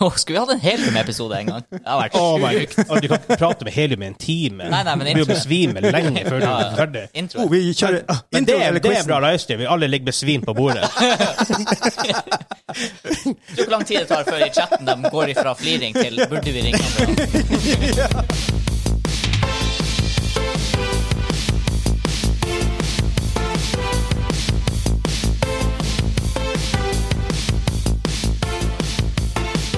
Åh, Skulle vi hatt en helium-episode en gang? Det har vært Å, my sjukt. God. Du kan ikke prate med helium i en time. Nei, nei, men du blir jo intro- besvimmel lenge før du Ja, er ja. ferdig. Intro. Oh, vi kjører ah, Men det, intro er- eller det er quizen. bra livestream. Vi alle ligger besvimt på bordet. Tror du hvor lang tid det tar før i chatten de går ifra fliring til burde vi ringe ambulans?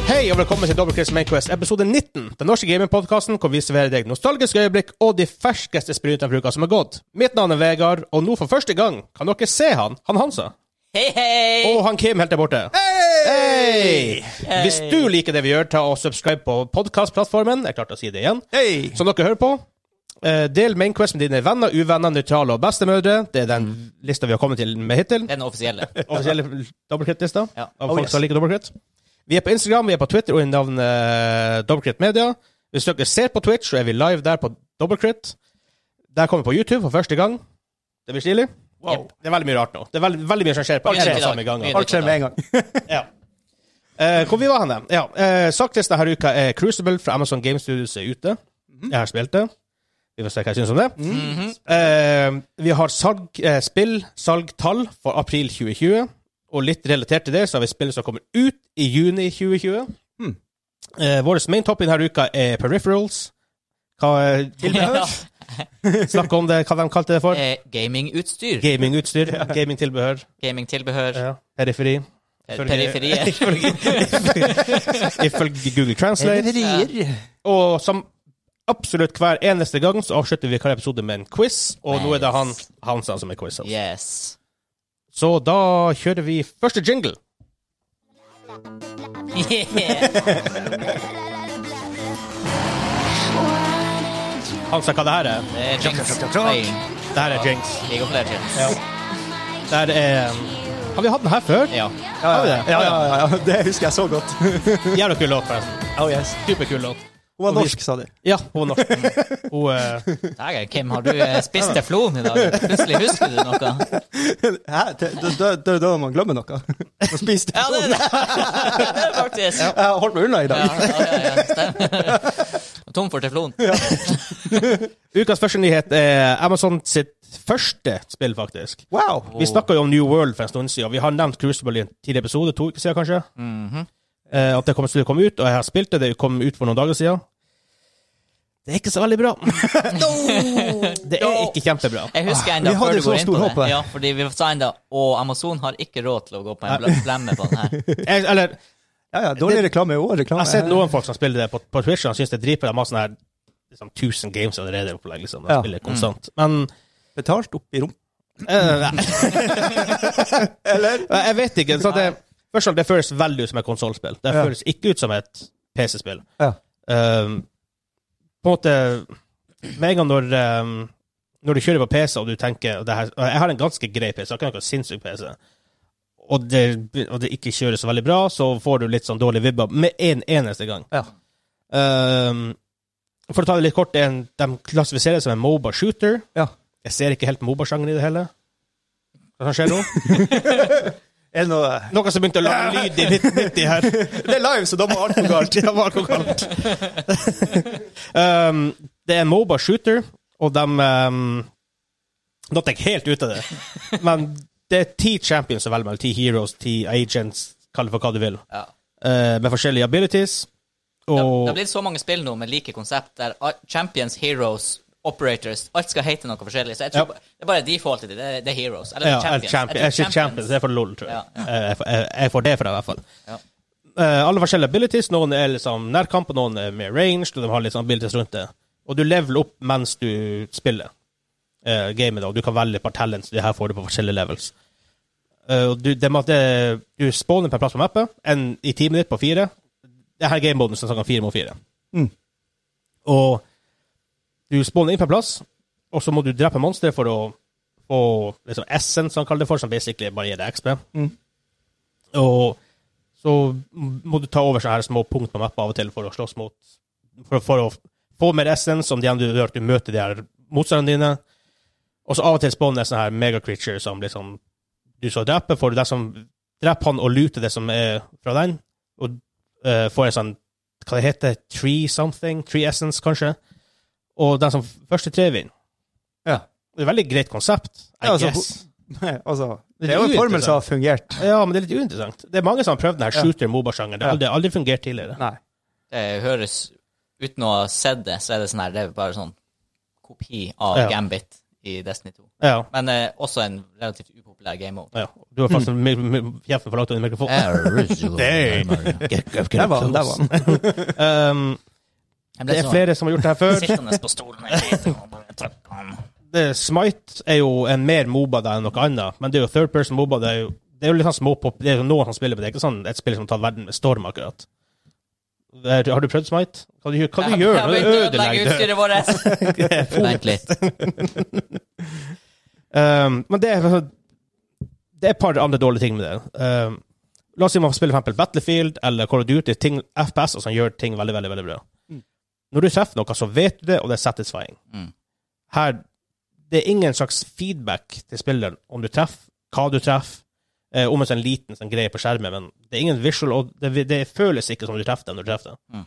Hei og velkommen til Double Chris Mainquest episode 19. Den norske gamingpodkasten hvor vi serverer deg nostalgiske øyeblikk og de ferskeste sprutene fra uka som er gått. Mitt navn er Vegard, og nå for første gang kan dere se han, han Hansa. Hei, hei! Og han Kim helt der borte. Hei! Hvis du liker det vi gjør, ta og subscribe på podkastplattformen. Jeg klarte å si det igjen. Hey. Som dere hører på. eh, Del Mainquest med dine venner, uvenner, nøytrale og bestemødre. Det er den lista vi har kommet til med hittil. Det er den offisielle. Offisielle dobbeltkritt-lista. Ja. Av Oh, folk yes. som liker dobbeltkritt. Vi er på Instagram, vi er på Twitter under navnet eh, Dobbeltkritt Media. Hvis dere ser på Twitch, så er vi live der på Dobbeltkritt. Der kommer vi på YouTube for første gang. Det blir stilig. Wow. Det er veldig mye rart nå. Det er veldig, veldig mye som skjer på Mye en nytt i og samme dag. gang. Mye Alt skjer med en gang. Ja. Eh, hvor vi var henne? Ja, uh, Saktlisten denne uka er Crucible fra Amazon Game Studios er ute. Mhm. Jeg har spilt det. Vi får se hva jeg syns om det. Mhm. Eh, vi har salg, eh, spill, salgtall for april 2020. Og litt relatert til det, så har vi spill som kommer ut i juni 2020. Mm. Eh, Vår main topic denne uka er Peripherals. Hva, eh, Ja. snakk om det, hva de kalte det for. Eh, Gamingutstyr. Gamingutstyr, gamingtilbehør, Gamingtilbehør. Eh, ja. periferi. Ifølge- Periferier. Ifølge Google Translate. Og som absolutt hver eneste gang så avslutter vi hver episode med en quiz, og nå er det han Hansa som er quiz. Altså. Yes. Så da kjører vi første jingle. Yeah. Hansa, hva det her er? Det er Jinx Tjakk, tjakk, tjakk, tjakk. playing Det her er jinx. Eh, League of Legends. Ja. Det her er um, Har vi hatt den her før? Ja. Ja, Har vi ja, det? ja, ja, ja. Det husker jeg så godt. Jævla kul låt, forresten. Oh, yes. Superkul låt. Hun var norsk, sa du. Ja, hun er norsk. Hun eh, Dæger, Kim, har du eh, spist teflon i dag? Plutselig husker du noe. Hæ? Det det- det- det er da man glemmer noe. Man spiser det. Ja, det er det. Det er faktisk. Ja, Jeg har holdt meg unna i dag. ja, ja, ja stemmer. Tom for teflon. uh, Ukas første nyhet er Amazon sitt første spill, faktisk. Wow. Vi snakka jo om New World for en stund siden. Vi har nevnt Crucible i en tidligere episode, to uker siden kanskje. eh, at det kommer til å komme ut, og jeg har spilt det. Det kom ut for noen dager siden. Det er ikke så veldig bra. det er ikke kjempebra. Jeg husker enda Vi hadde før du så går inn stor på håp det. her. Ja, fordi vi sa enda Og Amazon har ikke råd til å gå på en bl- blemme på den her. Jeg, eller, jeg Ja, ja, dårlig reklame er jo også reklame. har sett noen folk som spiller det på, på Twitch, og de syns det er dritbra. De har sånn her liksom, 1000 games allerede. opplegg, Liksom. De Ja. Mm. spiller konstant. Men Betalt opp i rom. eh, nei. Eller? Nei, Jeg vet ikke. Så det, først og fremst, det føles veldig ut som et konsollspill. Det Ja. føles ikke ut som et PC-spill. Ja. Um, på en måte Med en gang når, um, når du kjører på PC, og du tenker og det her, og Jeg har en ganske grei PC, jeg har ikke noen sinnssyk PC. Og det, og det ikke kjøres så veldig bra, så får du litt sånn dårlig vibber med en eneste gang. Ja. Um, for å ta det litt kort, det er en, de klassifiseres som en Moba shooter. Ja. Jeg ser ikke helt Moba-sjangeren i det hele. Hva som skjer nå? Er det noe Noen som begynte å lage lyd i midt, midt i her. Det er live, så da må alt gå galt. Det var noe galt. um, det er Moba Shooter, og de um, Nå gikk jeg helt ut av det. Men det er ti champions å velge mellom. Ti heroes, ti agents, kall det for hva du vil. Ja. Uh, med forskjellige abilities. Det det Og har blitt så mange spill nå med like konsept, der a- Champions, Heroes, Operators Alt skal hete noe forskjellig. Så jeg tror Ja. ba- det er bare defaultet til det. Det er- Det er Heroes. Eller ja, Champions. champions. Champions. Jeg Jeg tror sier champions. Det er for LOL, tror jeg. Ja, Eh, jeg får- Jeg jeg får det fra deg, i hvert fall. Ja. Eh, alle forskjellige abilities. Noen er liksom nærkamp, og noen er mer ranged, og de har litt sånn abilities rundt det. Og du leveler opp mens du spiller eh, gamet, da. og du kan velge et par talents. Det her får du på forskjellige levels. Eh, og du, det med at det, du spawner per plass på mappet, en i teamet ditt på fire. Det her er gamebonusen som kan fire mot fire. Mm. Og du spawner inn per plass, og så må du drepe monstre for å og liksom S-en, som han kaller det for, som basically bare gir deg XP. Mm. Og så må du ta over sånne her små punkt på mappa av og til for å slåss mot For, for å få mer essens om de andre du gjør at du møter de her motstanderne dine. Og så av og til spawner det sånne her megacreature som liksom du skal drepe. Får du det som Drep han og lute det som er fra den, og eh, får en sånn Hva det heter Tree something? Tree essence, kanskje? Og den som f- første tre vinner. Ja. Det er et veldig greit konsept. I Ja, altså, guess. Nei, altså, Det det er jo en formel uinteressant. som har fungert. Ja, men det er litt uinteressant. Det er mange som har prøvd denne Ja. shooter-moba-sjangeren. Det har aldri, aldri fungert tidligere. Nei. Det høres Uten å ha sett det, så er det sånn her Det er bare sånn kopi av Ja. Gambit i Destiny 2. Ja, Men eh, også en relativt upopulær game mode. ja. Du har faktisk mi- mi- kjeften for langt under mikrofonen. Damn. Get- get- get Der var den, der close. var den. Um, Jeg ble det er sånn flere som har gjort det her før. sittende på stolen her lite og bare trykke han. det, Smite er jo en mer Moba da enn noe annet, men det er jo third person Moba. Det er jo, det er jo litt sånn småpop. Det er jo noen som spiller på det. Det er ikke sånn et spill som tar verden med storm, akkurat. Det er- Har du prøvd Smite? Hva du, hva du gjør Jeg når du begynte å ødelegge ødelegger utstyret det? vårt. Vent litt. Um, men det er, det er et par andre dårlige ting med det. Um, la oss si man spiller for eksempel Battlefield eller Call of Duty, ting, FPS, og som gjør ting veldig, veldig, veldig bra. Mm. Når du treffer noe, så vet du det, og det er satisfying. Mm. Her, det er ingen slags feedback til spilleren om du treffer, hva du treffer, eh, om en sånn liten sånn greie på skjermen, men det er ingen visual, og det, det føles ikke som du treffer den når du treffer den. Mm.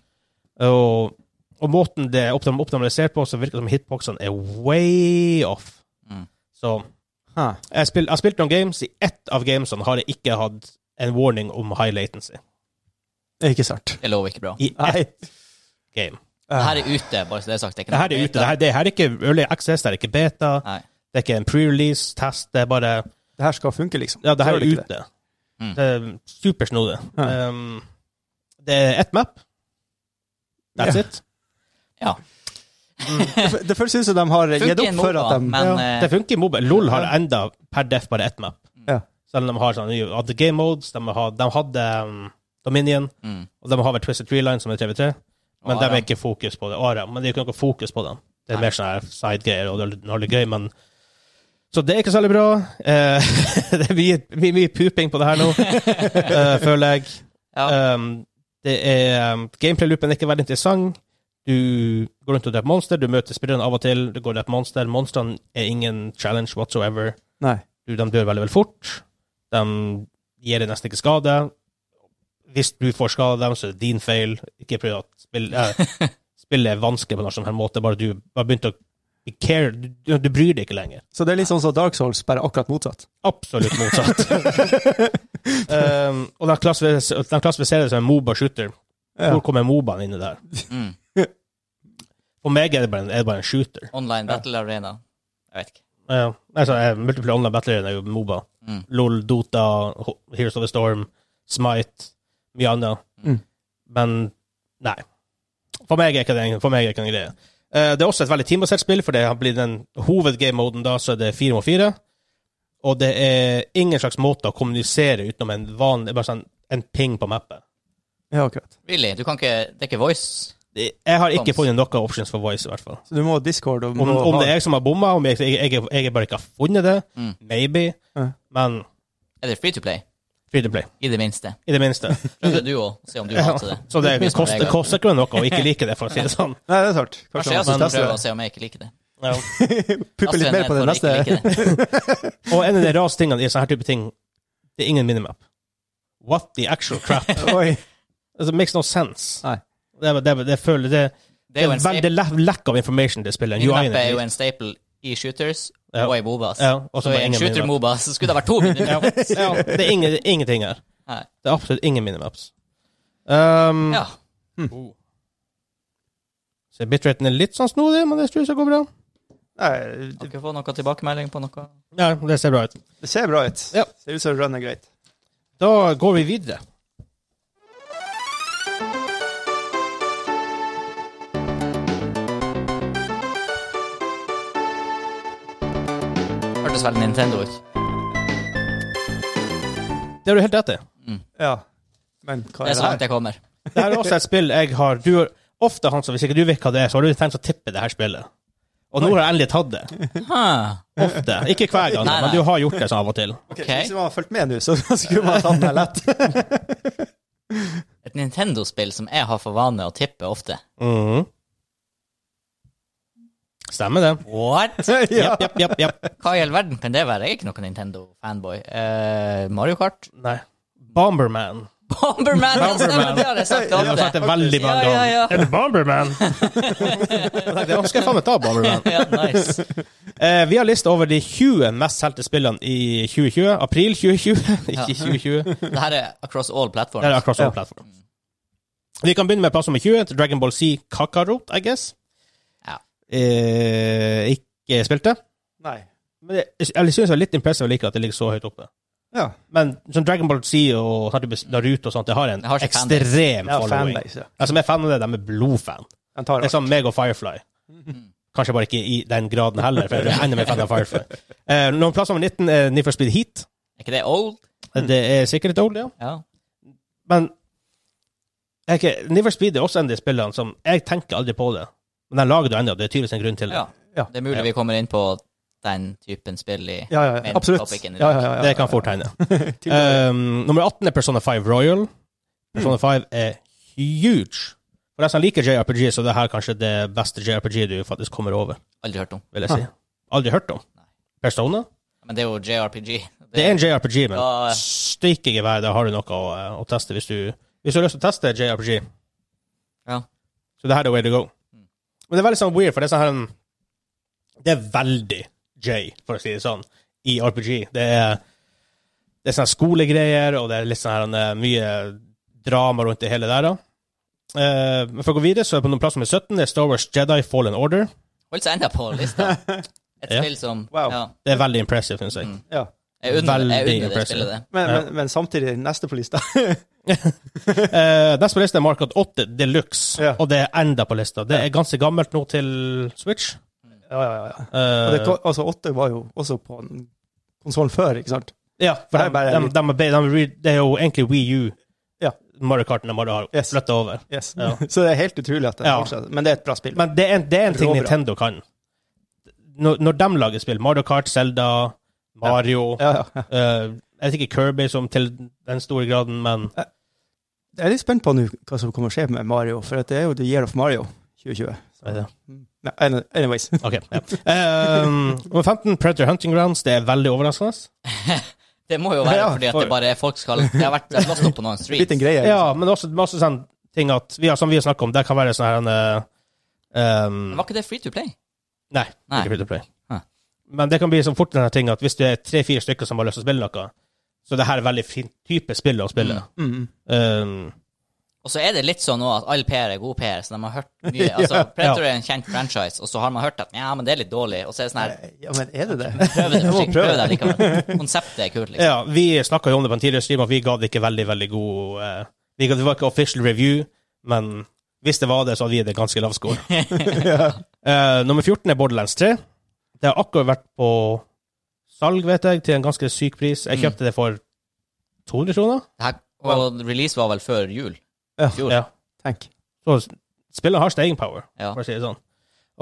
Og, og måten det er optim- optimalisert på, så virker det som hitboxene er way off. Mm. Så... Hæ. Jeg spil- jeg har spilt noen games. I ett av gamesene har jeg ikke hatt en warning om high latency. Det er ikke sant. Det lover ikke bra. I Nei. ett game. Det her er ute, bare så det er sagt. Det er ikke Det her noe er ute. Det her, det her er ikke early access, det er ikke beta, Nei. det er ikke en pre-release-test. Det er bare Det her skal funke, liksom. Ja, det her Så er ikke ute. Mm. Det er supersnodig. Ja. Um, det er ett map. That's Ja. it. Ja. Det, det føles ut som de har Funker gitt en opp for MOBA, at de men ja. eh, Det funker i mobil. LOL har Ja. enda per def bare ett map. Ja. Selv om de har sånn de hadde game modes, de hadde, de hadde um, Dominion, mm. og de har vel Twisted Tree Line, som er 3v3. Men Og de er Aram. ikke fokus på det. Aram, men det er jo ikke noe fokus på dem. Det er Nei. mer sånne her side-greier, og det er litt gøy, men Så det er ikke særlig bra. Eh, det er mye, mye, mye puping på det her nå, eh, føler jeg. ja. Um, det er um, Gameplay-loopen er ikke veldig interessant. Du går rundt og dreper monster, du møter spillerne av og til, du går og dreper monster. Monstrene er ingen challenge whatsoever. Nei. Du, de dør veldig, veldig fort. De gir deg nesten ikke skade. Hvis du får skade av dem, så er det din feil. Ikke prøv at spill, eh, spillet er vanskelig på noen sånn her måte. Bare du bare begynte å be care. Du, du bryr deg ikke lenger. Så det er litt sånn som Dark Souls, bare akkurat motsatt. Absolutt motsatt. um, og de klassifiserer de klassifiserer det som en Moba-shooter. Ja. Hvor kommer Mobaen inn i det her? mm. For meg er det bare en, er det bare en shooter. Online battle arena. Jeg vet ikke. Uh, altså, eh, Multiplayer online battle er jo Moba. Mm. LOL, Dota, Ho- Heroes of the Storm, Smite, mye annet. Mm. Men nei. For meg er ikke det en- for meg er ikke det en greie. Eh, det er også et veldig teambasert spill, for det har blitt den hovedgame-moden da, så er det fire mot fire. Og det er ingen slags måte å kommunisere utenom en vanlig bare sånn, en ping på mappet. Ja, akkurat. Really? Du kan ikke Det er ikke voice? Det- Jeg har ikke Kons. funnet noen options for voice, i hvert fall. Så du må ha Discord og Om, må om ha- det er jeg som har bomma, om jeg, jeg, jeg, jeg bare ikke har funnet det, Mm. maybe, Ja. men Er det free to play? free to play, I det minste. i det minste. Prøvde du å se om du Ja, hadde det? Så det Hvis man koster, legger- koster ikke noe å ikke like det, for å si det sånn. Nei, det er sant. Kanskje jeg også man skal skal prøve å teste se om jeg ikke liker det. Ja. det. Puppe litt Astrid er mer på ned for å det neste. ikke like det. Og en av de rareste tingene i sånne her type ting, det er ingen minimap. What the actual crap? Oi. It makes no sense. Nei. Det, er- det, er- det føler det, Det er jo en veldig staple. la- lack of information det spiller. Minimap er jo Ja, en staple i shooters Ja. og i Mobas. og så Så i bare en ingen minimap. shooter-Moba så skulle det vært to minutter. Ja, ja, det er ingen, ingenting her. Nei. Det er absolutt ingen minimaps. Um, Ja. Oh. Så bitraten er litt sånn snodig, men det tror jeg skal gå bra. Nei, Har ikke fått noe tilbakemelding på noe? Ja, det ser bra ut. det ser bra ut. Ja. Ser ut som run er greit. Da går vi videre. Hørtes veldig Nintendo ut. Det har du helt rett i. Ja. Men hva Det er er så det langt her? jeg kommer. Det her er også et spill jeg har du, har- Ofte, Hans, hvis ikke du vet hva det er, så har du tenkt å tippe det her spillet. Og nå har jeg endelig tatt det. Huh. Ofte. Ikke hver gang, Nei, nei. men du har gjort det sånn av og til. Ok, Ok. Hvis man har fulgt med nå, så skulle man ha tatt den her lett. Et Nintendo-spill som jeg har for vane å tippe ofte. Mhm. Stemmer det. What? ja. Japp, japp, japp, japp. Hva i all verden kan det være? Jeg er ikke noen Nintendo-fanboy. Eh, Mario Kart? Nei. Bomberman. Bomberman! ja, stemmer, Bomberman. Det har jeg sagt Jeg har sagt det ofte. veldig mange Ja, ja, ganger. ja. Er det Bomberman? Jeg tenkte, ja, skal jeg faen meg ta Bomberman? Ja, nice. Eh, vi har lista over de 20 mest solgte spillene i 2020. April 2020, Ja. ikke 2020. Det Det her er across all platforms. er across all Ja. platforms. Vi kan begynne med plass nummer 20, til Dragon Ball Z Kakarot, I guess. Ja. Eh, ikke spilte. Nei. Men jeg, jeg syns det er litt impressive jeg liker at det ligger så høyt oppe. Ja. Men sånn Dragon Ball Z og sånn type Naruto og sånt, det har en Det har ikke fanbase. ekstrem Det er following. fanbase, ja. Altså, som er fan av det, de er blodfan. Den tar Det er alt. som meg og Firefly. Mhm. Kanskje bare ikke i den graden heller, for jeg er enda mer fan av Firefly. Eh, noen plass nummer 19 er Need for Speed Heat. Er ikke det old? Det er sikkert et old, ja. Ja. Men er ikke- Need for Speed er også en av de spillene som Jeg tenker aldri på det. Men den lager du ennå, det er tydeligvis en grunn til det. ja. Ja. Det er mulig vi kommer inn på den typen spill i Ja, ja, ja. main Absolutt. topicen i Ja, dag. ja, ja, ja. Det kan fort hende. Tidligere. Um, nummer 18 er Persona 5 Royal. Persona 5 er huge. For de som liker JRPG, så det her er kanskje det beste JRPG du faktisk kommer over, Aldri hørt om. vil jeg si. Aldri hørt om. Persona? Men det er jo JRPG. Det er en JRPG, men Ja, ja. steike gevær, der har du noe å, eh, å teste hvis du, hvis du har lyst til å teste JRPG. Ja. Så det her er way to go. Mm. Men det er veldig sånn weird, for det er sånn her mm, Det er veldig J, for å si det sånn, i RPG. Det er, det er sånne skolegreier, og det er litt sånn her eh, mye drama rundt det hele der, da. Eh, Men for å gå videre, så er på noen plass nummer 17 det er Star Wars Jedi Fallen Order. Holdt seg enda på lista. Et Ja. spill som Wow. ja, Det er veldig impressive, syns jeg. Ja. Jeg unner jeg Veldig unner det impressive. spillet, det. Men, men, men samtidig, neste på lista Eh, neste på lista er Mark 8 Deluxe, Ja. og det er enda på lista. Det er ganske gammelt nå til Switch. Ja, ja, ja. Og det, Eh, ko- altså, åtte var jo også på konsollen før, ikke sant? ja, for det de, er bare de, litt- de, de, de, det er jo egentlig Wii U. Ja. Mario Karten de har Yes. flytta over. Yes. Ja. Så det er helt utrolig at det Ja. fortsetter. Men det er et bra spill. Men det er en, det er en ting Råbra. Nintendo kan. Når, når de lager spill, Mario Kart, Zelda, Mario ja, ja. eh, Jeg vet ikke Kirby som til den store graden, men Jeg er litt spent på nå hva som kommer å skje med Mario, for at det er jo The Year of Mario 2020. Er det? Mm. Nei, any- anyways. OK. Ja. Eh, nummer 15, Predator Hunting Grounds. Det er veldig overraskende. Det må jo være Ja, fordi at for- det bare er folk skal Det har vært låst opp på noen Litt streets. en greie. Ja, men også masse sånn ting at vi har, Som vi har snakket om, det kan være sånn her en eh, um, Men Var ikke det free to play? Nei, Nei. ikke free to play. Hæ. Men det kan bli så fort denne ting at hvis det er tre-fire stykker som har lyst til å spille noe, så det her er veldig fin type spill å spille. liksom. Mm. Um, Og så er det litt sånn nå at all PR er god PR, så de har hørt mye. Altså, Ja. Predator er en kjent franchise, og så har man hørt at ja, men det er litt dårlig, og så er det sånn her Ja, men er det det? Prøv det, Jeg må forsiktig, prøve prøv det likevel. Konseptet er kult, liksom. ja, vi snakka jo om det på en tidligere stream, at vi ga det ikke veldig, veldig god eh, vi ga, Det var ikke official review, men hvis det var det, så hadde vi det ganske lav score. Eh, nummer 14 er Borderlands 3. Det har akkurat vært på salg, vet jeg, til en ganske syk pris. Mm. Jeg kjøpte det for 200 kroner. Det her, og release var vel før jul? Ja. Fjor. Ja. Tenk. Så spillet har staying power, Ja. for å si det sånn.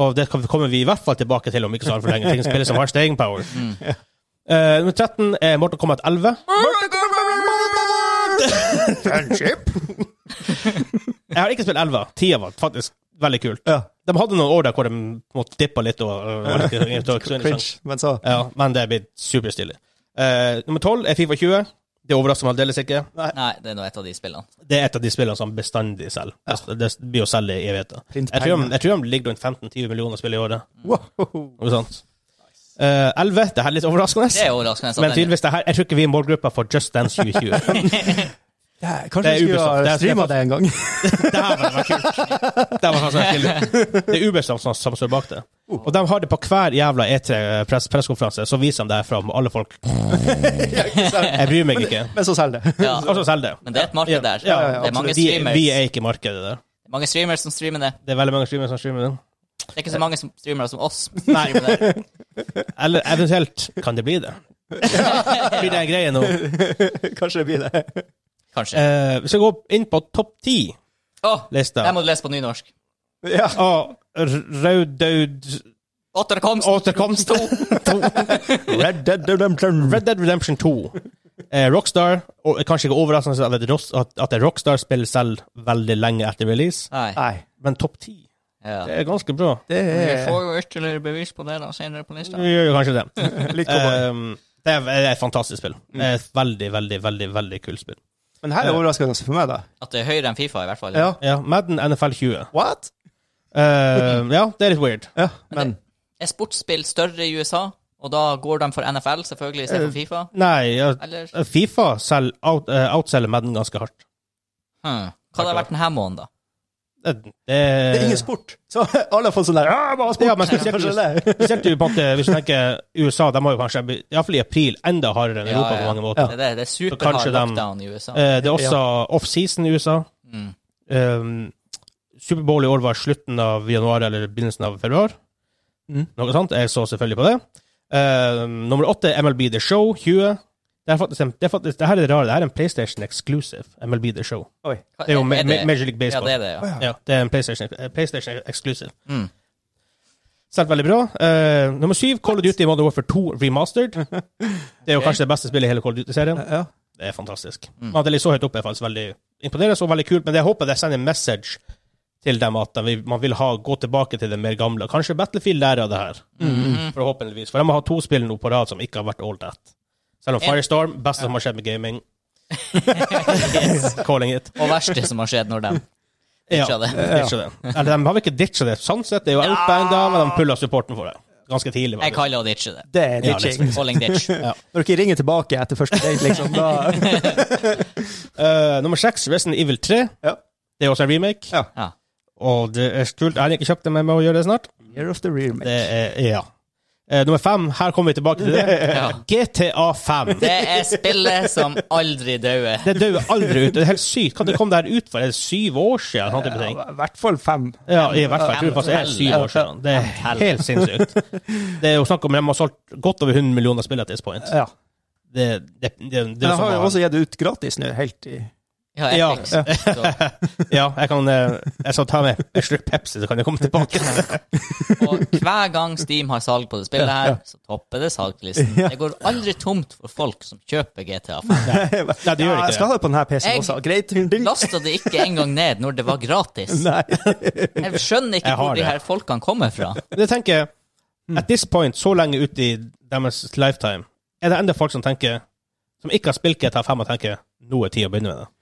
Og det kan- kommer vi i hvert fall tilbake til om ikke så altfor lenge. Ting spillet som har staying power. Eh, nummer 13 er Mortal Kombat 11. Jeg har ikke spilt 11. 10 var faktisk veldig kult. Ja. De hadde noen år der hvor de måtte dippe litt og, og, og, og, Cringe. Men så Ja, men det er blitt superstilig. Eh, nummer 12 er Fifa 20. Det overrasker meg aldeles ikke. Nei, det er nå et av de spillene. Det er et av de spillene som bestandig selger. Det- Det blir å selge i evigheter. Jeg Print tror, de, penger. jeg tror de ligger rundt 15-20 millioner spill i året. Wow. Noe sånt. Eh, 11. Det her er litt overraskende. Det er overraskende. at Men den- tydeligvis, det her, jeg tror ikke vi er i målgruppa for Just Dance 2020. Ja, Det kanskje er vi skulle Ubisoft. Det ha er- streama det en gang. det her var det var kult. Det, var kanskje kult. det er Ubisoft som, som står bak det. Og de har det på hver jævla E E3-pressekonferanse, så viser de det her fram, og alle folk Jeg bryr meg ikke. Men så selger det. ja. Og så selger det. Men det er et marked der. Ja, ja, ja, det er mange absolutt. vi, streamers, vi er ikke i markedet der. mange streamers som streamer det. Det er veldig mange streamere som streamer den. Det er ikke så mange som streamere som oss. som Nei. streamer det. Eller eventuelt kan det bli det. Blir det en greie nå? Kanskje det blir det. Kanskje. Eh, vi skal gå inn på topp ti-lista. Å, jeg må lese på nynorsk. Ja. Av Raudaud Återkomst! Återkomst 2. Red Dead Redemption. Red Dead Redemption 2. Eh, Rockstar, og kanskje ikke overraskende at det er Ross- at at det er Rockstar spiller selv veldig lenge etter release, Nei. Nei. men topp ti Ja. det er ganske bra. Det Vi er får jo ytterligere bevis på det da, senere på Vi lista. gjør jo kanskje det. Ehm, litt cowboy. Mm. Eh, det er det er et fantastisk spill. Det er Et veldig, veldig, veldig veldig kult spill. Men her Ja. er overraskende for meg, da. At det er høyere enn Fifa, i hvert fall. Ja. Ja, Madden NFL 20. What? Eh, Mm. ja, det er litt weird. Ja, Men men Er sportsspill større i USA, og da går de for NFL, selvfølgelig, istedenfor Eh. Fifa? Nei, ja, Eller Fifa selv out, eh, outselger Madden ganske hardt. hmm. Hva hadde det vært denne måneden, da? Det, det er ingen sport. Så alle har fått sånn der «Ah, bare sport. Ja, men spesielt- Kanskje det. Spesielt i på en måte, hvis du tenker USA, de har jo kanskje iallfall i april enda hardere Ja, enn Europa ja. på mange måter. Det er, det, det er superhard kanskje de- lockdown i USA. Eh, det er også offseason i USA. Mm. Um, Superbowl i år var slutten av januar eller begynnelsen av februar. Mm. Noe sånt. Jeg så selvfølgelig på det. Um, nummer åtte, MLB The Show 20. Det er faktisk, en- det er faktisk, det her er det rare. Det her er en PlayStation exclusive. MLB The Show. Oi. Hva- Det er jo Ma- det- Ma- Major Ja, League Baseball. det er det, ja. Å, ja. Ja, det er en PlayStation, eh, PlayStation exclusive. Mm. Selv veldig bra. Eh, nummer syv, Call of Duty Modern Warfare 2 Remastered. Det er jo Ok. kanskje det beste spillet i hele Call of Duty-serien. Ja. Det er fantastisk. Men At det ligger så høyt oppe, er faktisk veldig imponerende og veldig kult. Men jeg håper det sender en message til dem at de vil- man vil ha, gå tilbake til det mer gamle. Kanskje Battlefield lærer av det her, Mm. forhåpentligvis. For de har to spill nå på rad som ikke har vært all that. Selv om En- Firestorm, beste som har skjedd med gaming. Calling it. Og verste som har skjedd når de ditcha det. ditcha det. Eller de har vel ikke ditcha det, sånn sett. Det er jo out enda, men de pulla supporten for det. Ganske tidlig. Jeg kaller å ditche det. Det er Ja, ditching. liksom. Calling ditch. Når dere ringer tilbake etter første date, liksom, da Eh, nummer seks, Resident Evil 3. Ja. Det er også en remake. Ja. Ja. Og det er kult. Jeg har ikke kjøpt det, men jeg må gjøre det snart. Year of the remake. Det er, ja. Eh, nummer fem, her kommer vi tilbake til det. Ja. GTA 5. Det er spillet som aldri dauer. Det dør aldri ut. Det er helt sykt. Kan det komme der ut for? Er det syv år siden? Sånn type ting. Ja, I hvert fall fem. Ja, i hvert fall. Jeg tror det faktisk er syv år siden. Det er helt sinnssykt. Det er jo snakk om De har solgt godt over 100 millioner spill at this point. Ja. Det, det, det, det, Men er jeg har jo sånn- også gitt det ut gratis nå, helt i Ja, Ja. Epic. Så- Ja, jeg kan eh, Jeg skal ta med en slurk Pepsi, så kan jeg komme tilbake. Og hver gang Steam har salg på det spillet her, så topper det salglisten. Det går aldri tomt for folk som kjøper GTA 5. Nei, det gjør Ja, ikke jeg det. skal ha det på denne PC-en Jeg- også. Greit. Ding, ding. Lasta det ikke engang ned når det var gratis. Nei. Jeg skjønner ikke Jeg har hvor de det. her folkene kommer fra. Det tenker jeg Mm. At this point, så lenge ut i deres lifetime, er det enda folk som tenker Som ikke har spilt GTA 5 og tenker nå er tida å begynne med det.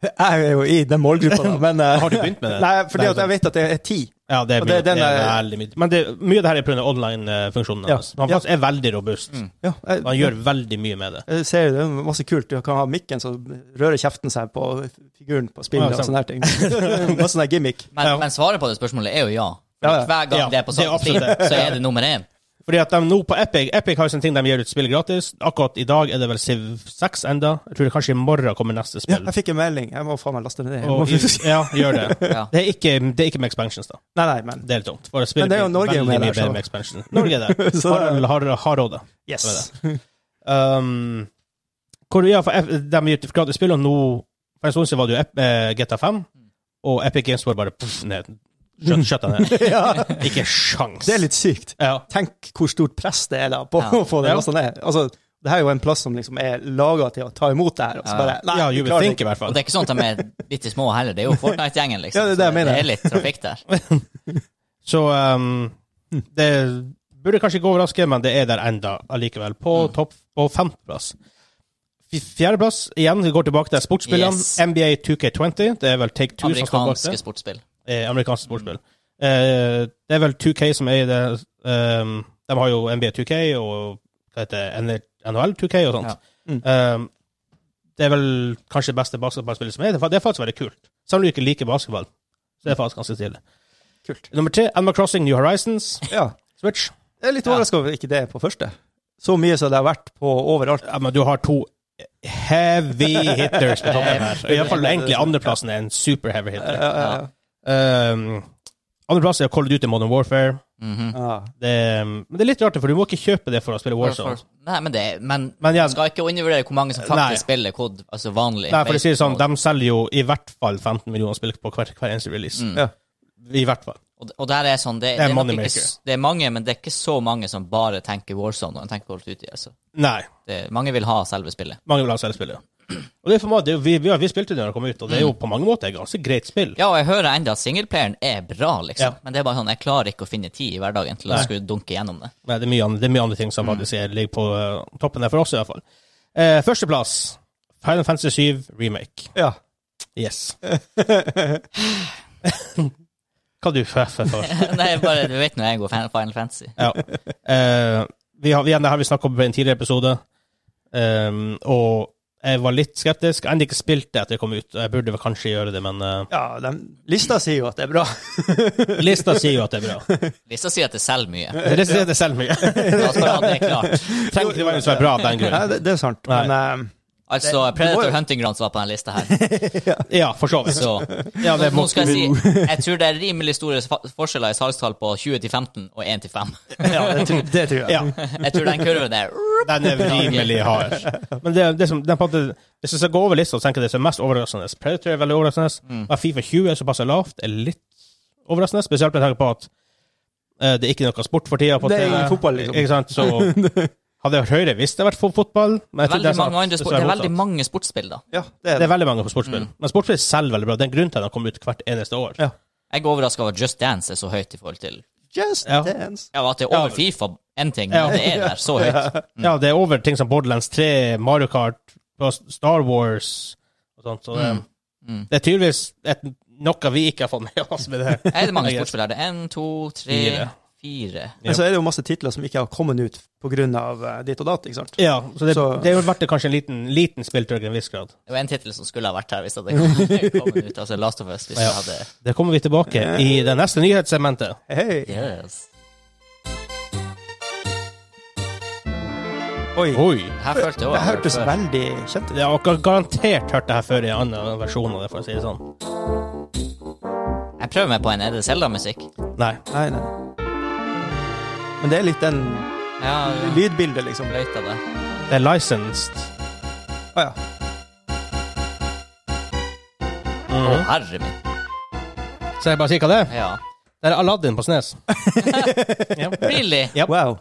Jeg er jo i den målgruppa, da, men eh, Har du begynt med det? Nei, fordi Nei, at jeg vet at det er ti. Ja, det er mye. Og det- den det er er- veldig mye. Men det, mye av det her er pga. online-funksjonen Ja. hans. Han Ja. Mm. faktisk er veldig robust. Ja, jeg, Han gjør veldig mye med det. jeg ser jo det er masse kult. Du kan ha mikken, så rører kjeften seg på figuren på spillet Ja, og sånne her ting. Masse sånne gimmick. Ja. Men, men svaret på det spørsmålet er jo ja. Ja, ja. Hver gang Ja, det er på det er salg på Steam, absolutt det. så er det nummer én. Fordi at de nå på Epic Epic har jo sånne ting de gir ut spill gratis. Akkurat i dag er det vel Civ 6 enda. Jeg tror det kanskje i morgen kommer neste Ja, spill. jeg fikk en melding. Jeg må faen meg laste det ned. Jeg Og, må faktisk- ja, gjør det. Ja. Det er, ikke, det er ikke med expansions, da. Nei, nei, men Det er litt dumt. For Men det er jo Norge jo med med der, mye bedre så. med expansion. Norge er der. Så- Har, har, har råd, da. yes. Um, hvor, ja, for F- de gir ut gratis spill, og nå For en stund siden var det jo Ep- eh, GTA5, og Epic Games Store bare pff, ned. Skjøt, skjøt den ned. ja, Ikke sjans. det er litt sykt. Ja. Tenk hvor stort press det er da på Ja. å få det Ja. lasta ned. Altså, det her er jo en plass som liksom er laga til å ta imot det her. Og så Ja. bare, nei, ja, vi you would klarer think, det i hvert Og fall. det er ikke sånn at de er bitte små heller. Det er jo Fortnite-gjengen, liksom. Ja, det er det jeg Så mener. det er litt trafikk der. Så um, Hm. det burde kanskje ikke overraske, men det er der enda allikevel. På Hm. topp på femteplass. F- Fjerdeplass, igjen, vi går tilbake til sportsspillene. Yes. NBA 2K20. Det er vel Take Two sånn som står bak det. Amerikanske sportsspill. eh, amerikanske sportsspill. Eh, det er vel 2K som er i det ehm, De har jo NBA 2K og hva heter det, NHL 2K og sånt. Ehm, det er vel kanskje det beste basketballspillet som er. Det er fa- Det er faktisk veldig kult. Selv om du ikke liker basketball, så er det faktisk ganske stilig. Kult. Nummer tre, Animal Crossing New Horizons. Ja. Switch. Jeg er litt overraska over ikke det på første. Så mye som det har vært på overalt. Ja, men du har to heavy hitters på toppen her. Iallfall egentlig andreplassen er en super heavy hitter. Ja, ja, Um, Andreplass er Call of Duty Modern Warfare. Mhm. ja. Det, men det er litt rart, for du må ikke kjøpe det for å spille Warzone. Nei, men det men Men ja, Man skal ikke undervurdere hvor mange som faktisk Nei. spiller kod, altså vanlig. nei, for å si det sånn, Og- de selger jo i hvert fall 15 millioner spill på hver, hver eneste release. Mm. Ja. I hvert fall. og, og der er sånn, det, er det, er nok ikke, moneymaker. s- det er mange, men det er ikke så mange som bare tenker Warzone når de tenker Call of Duty. Altså. Nei. Det, mange vil ha selve spillet. Mange vil ha selvspillet. Og det er for meg, det, er jo- vi, vi, har- vi spilte det når det kom ut, og det er jo på mange måter et ganske greit spill. Mm. Ja, og jeg hører enda at singleplayeren er bra, liksom. Ja. Men det er bare sånn, jeg klarer ikke å finne tid i hverdagen til å Nei. skulle dunke gjennom det. Men Mm. det er mye, andre- det er mye andre ting som faktisk er- ligger på eh, toppen der, for oss i hvert fall. Eh, førsteplass, Final Fantasy 7 remake. Ja. Yes. Hva du feffer for? Nei, bare du vet når jeg går Fan- Final Fantasy. Ja. Eh, vi har, igjen, det har vi snakket om i en tidligere episode, Ehm, og jeg var litt skeptisk. Jeg har ennå ikke spilt det etter det kom ut, og jeg burde vel kanskje gjøre det, men eh, ja den, lista sier jo at det er bra. lista sier jo at det er bra. Lista sier at det selger mye. Det sier det selv mye. Da skal man ha det klart. Trenger ikke nødvendigvis være bra av den grunn. Nei, det, det er sant. Nei. Men eh, Altså, Det- det må Predator jo- Hunting Grounds var på den lista her, Ja, for så vidt. så Ja, det Nå må, skal jeg si, jeg tror det er rimelig store fa- forskjeller i salgstall på 20 til 15 og 1 til 5. ja, det, tror- det tror jeg. ja, Jeg tror den kurven der den er rimelig hard. Men det, det som, den, på en måte- hvis jeg skal gå over lista, så tenker jeg det som er mest overraskende. Predator er veldig Mm. overraskende. Og Fifa 20 er såpass lavt, er litt overraskende. Spesielt med tanke på at eh, det er ikke noe sport for tida. på Det er TV. ingen fotball, liksom. Ikke sant? Så hadde jeg vært høyere hvis det hadde vært fo- fotball. Men jeg tror veldig sånn at- mange andre spor- så er Det er motsatt. veldig mange sportsspill, da. Ja, det er det det. er veldig mange på sportsspill. Men sportsspill selger veldig bra. Det er en grunn til at de kommer ut hvert eneste år. Ja. Jeg er overraska over at Just Dance er så høyt i forhold til Just Ja. dance. Ja, at det er over Ja. Fifa, én ting, Ja. men det er der så høyt. Ja, det er over ting som Borderlands 3, Mario Kart, og Star Wars og sånt. Så det, Mm. det er tydeligvis et, noe vi ikke har fått med oss med det. her. Er det mange I guess. sportsspillere? Én, to, tre, Fire. fire. Men så er det jo masse titler som ikke har kommet ut pga. eh, ditt og datt, ikke sant? Ja, så det, Så- det har vært kanskje en liten, liten spilltørk i en viss grad. Det var en tittel som skulle ha vært her hvis det hadde kommet ut. Altså Last of Us, hvis det Ja. hadde Det kommer vi tilbake i det neste nyhetssegmentet. Hei! Yes. Oi. Oi! Her følte jeg Det også- hørtes veldig kjent ut. Jeg har gar- garantert hørt det her før i en annen versjon av det, for å si det sånn. Jeg prøver meg på en Er det Zelda-musikk. Nei. Nei, nei. Men det er litt den Ja, lydbildet, liksom. fløyta det. Det er licensed. Å ja. Å, Mhm. herre min. Så jeg bare sier hva det er. Ja. Det er Aladdin på Snes. ja. Really? Ja. Wow.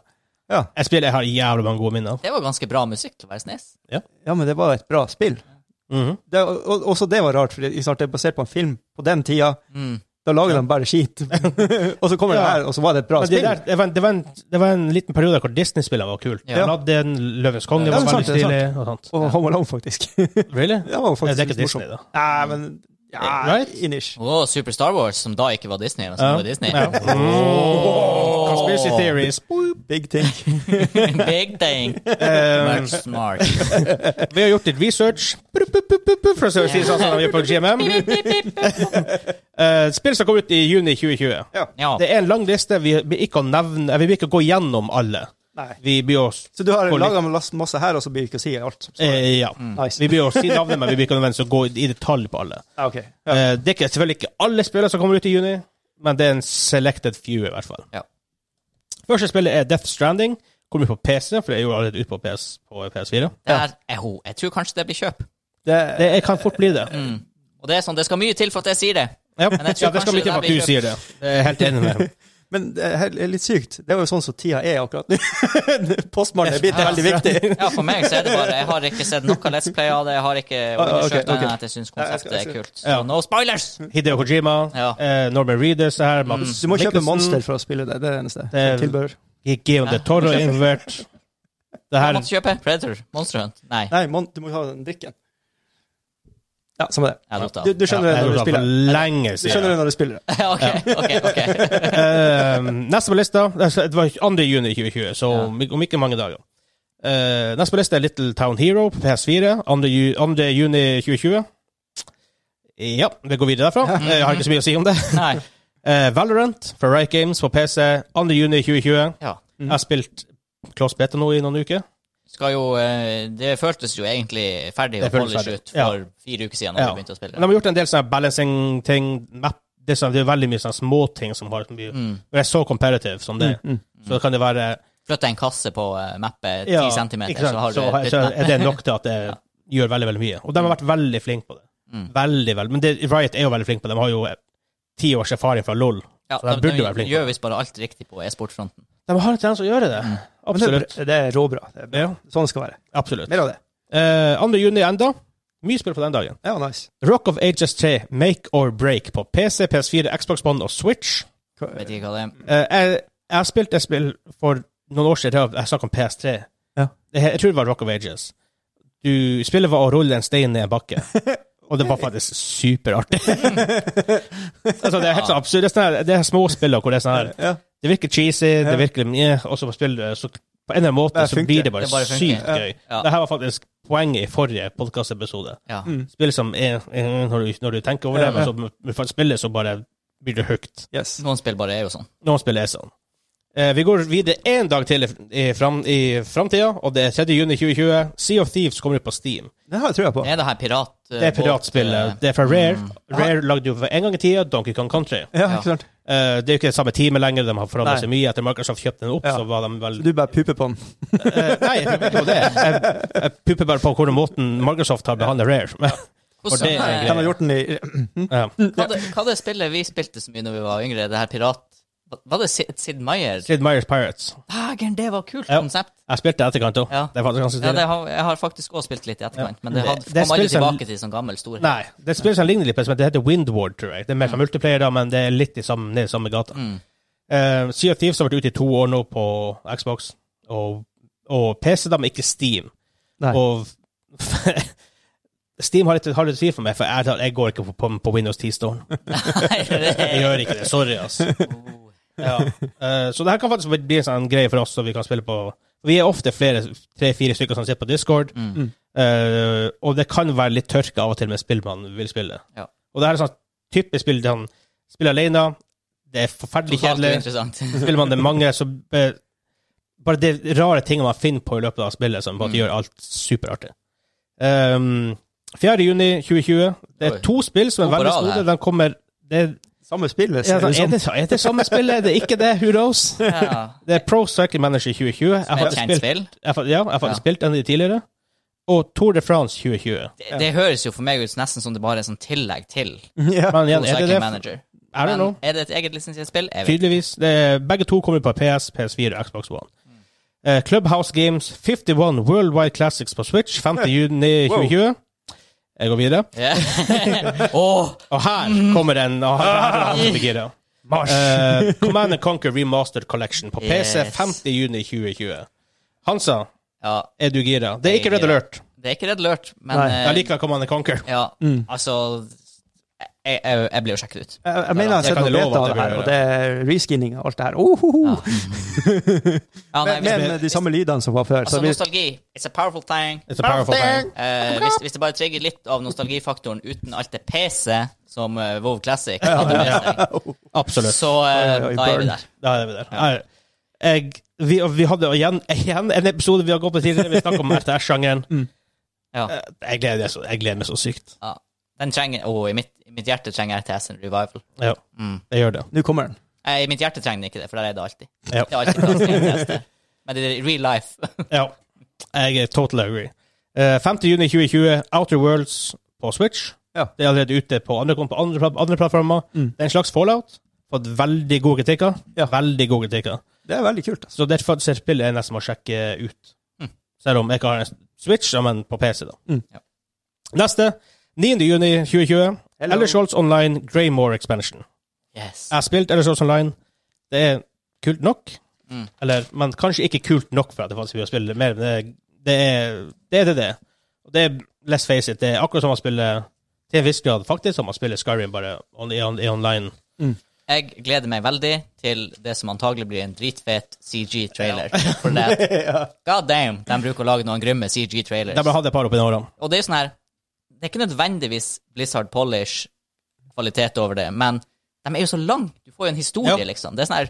Jeg spiller, jeg har jævlig mange gode minner. Det var ganske bra musikk til å være snes. Ja, men det var et bra spill. Mhm. Det, og, og- også det var rart, for det ikke sant, det er basert på en film på den tida. Mm. Da lager de bare skit. og så kommer det Ja. her, og så var det et bra Men spill. det, der, det, var en, det, var en, det var en liten periode hvor Disney-spillene var kul. Ja. Aladdin, Løvens konge Ja, var det er veldig sant, det er stilig. og sånt. Og Home Alone, faktisk. Really? det var Nei, faktisk det er ikke litt morsomt. Disney, da. Nei, men ja, Right? Inish. Og Super Star Wars, som da ikke var Disney, men som Ja. var Disney. Ja. Åh. Conspiracy theories. Big thing. Big thing. Eh, Much smart. vi har gjort litt research, Pup, pup, pup, pup, pup, for å si det sånn som de gjør på GMM. Eh, spill som kom ut i juni 2020. Ja. Det er en lang liste. Vi blir ikke å nevne, eh, vi blir ikke å gå gjennom alle. Nei. Vi blir å Så du har Hvor laga masse her, og så blir det ikke å si alt. som står. eh, ja. Nice. Vi blir å si navnet, men vi blir ikke nødvendigvis å gå i detalj på alle. Ja, ok. Ja. Eh, det er ikke, selvfølgelig ikke alle spillere som kommer ut i juni, men det er en selected few, i hvert fall. Ja. Første spillet er Death Stranding. Kommer ut på PC, for det er jo allerede ute på, PS, på PS4. Der er hun. Jeg tror kanskje det blir kjøp. Det, Det er- kan fort bli det. Og det er sånn, det skal mye til for at jeg sier det. Ja. Men jeg tror ja, det skal kanskje mye til det for at blir du kjøpt. sier det. Det er jeg helt enig med. men det er helt- litt sykt. Det er jo sånn som tida er akkurat nå. Postmannen er blitt Ja. veldig viktig. Ja, for meg så er det bare Jeg har ikke sett noe Let's Play av det. Jeg har ikke Ah, undersøkt ok, ok. den at jeg syns konseptet Nei, jeg er skal- kult. Så Ja. no spoilers! Hideo Kojima, Ja. eh, Norman Reedus er her. Mads Du må kjøpe Mikkelsen, Monster for å spille det. Det er det eneste. Det er- Tilbehør. Guillaume de Toro er involvert. Det Jeg her måtte kjøpe Predator. Monster Hunt. Nei. Nei, mon du må ha den drikken. Ja, samme det. Jeg lot Du, av. du skjønner det Ja, når du jeg spiller. for lenge Du skjønner siden. det når du spiller det. Ok, ok, ok. Eh, neste på lista Det var 2. juni 2020, så Ja. om ikke- om ikke mange dager. Eh, neste på lista er Little Town Hero på PS4. 2. ju- 2. juni 2020. Ja, vi går videre derfra. Eh, Jeg har ikke så mye å si om det. Nei. Eh, Valorant fra Riot Games på PC. 2. juni 2020. Ja. Jeg har spilt Klaus Beta nå i noen uker. Skal jo eh, Det føltes jo egentlig ferdig å Det føltes polish ferdig. ut for fire uker siden da Ja. vi begynte å Men De spille. har gjort en del sånne balancing-ting. map- Det er, sånn, det er veldig mye sånne småting som har mye Mm. Det er så comparative som det er. Så kan det være Flytta en kasse på uh, mappet ti Ja, centimeter, ikke sant? så har du så, bytt så mappe. er det nok til at det gjør veldig, veldig mye. Og de har vært veldig flinke på det. Mm. Veldig, veldig. Men det, Riot er jo veldig flinke på det. De har jo eh, ti års erfaring fra LOL. Ja, så de burde være flinke. gjør visst bare alt riktig på e-sportfronten. De har en tendens til å gjøre det. Mm. Men det er Absolutt. bra. Det er råbra. Det er bra. Ja, Sånn skal det være. absolutt. Mer av det. Eh, 2. juni enda. Mye spill på den dagen. Ja, nice. Rock of Ages 3, Make or Break på PC, PS4, Xbox One og Switch. Vet ikke hva det er. Eh, jeg, jeg har spilt et spill for noen år siden, jeg snakket om PS3. Ja. Det, he- jeg tror det var Rock of Ages. Du spillet var å rulle en stein ned en bakke. Og det var faktisk superartig. altså, det er helt sånn absurd. Det er, sånn her, det er små spill hvor det er sånn her Ja. Det virker cheesy, Ja. det virker meh, og så på spill så på en eller annen måte Det så funker. blir det bare, Det bare funker. sykt Ja. gøy. Ja. Dette var faktisk poenget i forrige podkastepisode. Ja. Spill som er, er når, du, når du tenker over Ja, det, men ja. så med- med spillet så bare blir det høyt. Yes. Noen spill bare er jo sånn. Noen spill er sånn. Eh, vi går videre én dag til i, fram, i framtida, og det er 3. juni 2020. Sea of Thieves kommer ut på Steam. Det har jeg trua på. Er det her pirat... eh, Det er piratspillet. båt, eh, Det er fra Rare. Mm. Rare lagde jo for en gang i tida Donkey Kong Country. Ja, Ja. ikke sant? Eh, det er jo ikke det samme teamet lenger, de har forandra Nei. seg mye. Etter Microsoft kjøpte den opp, Ja. så var de vel Så du bare puper på den. Eh, Nei, jeg puper ikke på det. Jeg, jeg puper bare på hvordan måten Microsoft har behandlet Rare. Men, For Hvordan, det er en greie. Den har gjort den i ja. eh, hva, det, hva det spillet vi spilte så mye når vi var yngre, det her pirat... hva- Var det Sid, Sid Meier? Sid Meier's Pirates. Dægen, det var kult Ja. konsept. Jeg spilte det i etterkant òg. Ja. Det er faktisk ganske Ja, stilig. det har, jeg har faktisk også spilt litt i etterkant, men det hadde, Det- det kom aldri spilles en- tilbake til som gammel stor. Nei, det spilles en lignende litt, men det heter Windward, tror jeg. Det er mer fra multiplayer, da, men det er litt i samme, ned i samme gata. Mm. Eh, sea of Thieves har vært ute i to år nå på Xbox og, og PC, da, men ikke Steam. Nei. Og Steam har litt, har litt tvil for meg, for jeg, jeg går ikke på, på Windows 10-storen. Nei, det Jeg gjør ikke det. Sorry, altså. Oh. Ja. Eh, så det her kan faktisk bli en sånn greie for oss, så vi kan spille på Vi er ofte flere, tre-fire stykker som sitter på Discord, Mm. eh, og det kan være litt tørke av og til med spill man vil spille. Ja. Og det her er sånn typisk spill der man spiller alene, det er forferdelig Totalt kjedelig, uinteressant. spiller man det mange, så eh, bare det rare tingene man finner på i løpet av spillet, som bare Mm. gjør alt superartig. Um, 4. juni 2020. Det Oi. er to spill som er To på veldig rad store. her. De kommer det er, samme spillet. er, det, sånn? er, det, er det samme spillet? Er det ikke det? Who knows? Ja. Det er Pro Cycling Manager 2020. Jeg Med har et kjent spilt, spill. jeg har, ja, jeg har Ja. spilt en av de tidligere. Og Tour de France 2020. Det, det høres jo for meg ut nesten som det bare er sånn tillegg til Ja. Men igjen, er det Motorcycle det? Manager. I don't know. Men er det et eget lisensiert spill? Jeg vet. Tydeligvis. Det er, begge to kommer på PS, PS4 og Xbox One. Eh, Clubhouse Games 51 Worldwide Classics på Switch 5. juni 2020. Jeg går videre. Ja. Åh, Og Mm. her kommer den. Og her, her, Ah. her, her, her, Eh, Command and Conquer Remastered Collection på PC Yes. 50. juni 2020. Hansa, ja, er du gira? Det er ikke Jeg Red er gira. Alert. det er ikke redd lurt, men Nei. eh, Jeg liker Command and Conquer. Ja, Mm. altså jeg, jeg, jeg ble jo sjekket ut. Jeg, jeg mener jeg har Jeg sett kan noe love at beta av det det her, blir- og det er reskinning og alt det her. Ohoho! Ja. Ja, nei, Men- hvis, men de samme lydene som var før. altså, så vi, nostalgi It's a powerful thing. It's a powerful thing. Eh, hvis, hvis det bare trigger litt av nostalgifaktoren uten alt det PC som eh, WoW Classic hadde med seg, Absolutt. sånn, så eh, Oi, oi, oi, da er vi burn. der. Da er vi der. Her. Jeg, vi, og vi hadde igjen, igjen en episode vi har gått på tidligere, vi snakket om RTS-sjangeren. Mm. Ja. Eh, Jeg, gleder meg så- jeg gleder meg så sykt. Ja. Den trenger Å, i, mitt, i mitt hjerte trenger RTS en revival. Ja, Mm. jeg gjør det. nå kommer den. Eh, I mitt hjerte trenger den ikke det, for der er det alltid. Ja. Det er alltid plass til RTS der. Men det er i real life. Ja, jeg er totally agree. Eh, 5. juni 2020, Outer Worlds på Switch. Ja. Det er allerede ute på andre, på andre, pla- andre plattformer. Mm. Det er en slags fallout. Fått veldig gode kritikker. Ja. Veldig gode kritikker. Det er veldig kult. Altså. Så det er faktisk et spill jeg nesten må sjekke ut. Mm. Selv om jeg ikke har en Switch, ja, men på PC, da. Mm. Ja. Neste. 9. juni 2020. Hello. Elder Scrolls Online Greymore Expansion. Yes. Jeg har spilt Elder Scrolls Online. Det er kult nok. Mm. Eller, men kanskje ikke kult nok for at det faktisk blir å spille mer. Men det, det er det. er det, det. Og det er, let's face it, det er akkurat som man spiller til en viss grad faktisk som man spiller Skyrim bare on, i, on, i online. Jeg gleder meg veldig til det som antagelig blir en dritfet CG-trailer. For det, God damn, de bruker å lage noen grymme Der CG-trailers. bare hadde jeg et par opp i årene. Og det er jo sånn her Det er ikke nødvendigvis Blizzard Polish-kvalitet over det, men de er jo så lang. Du får jo en historie, Ja. liksom. Det er sånn her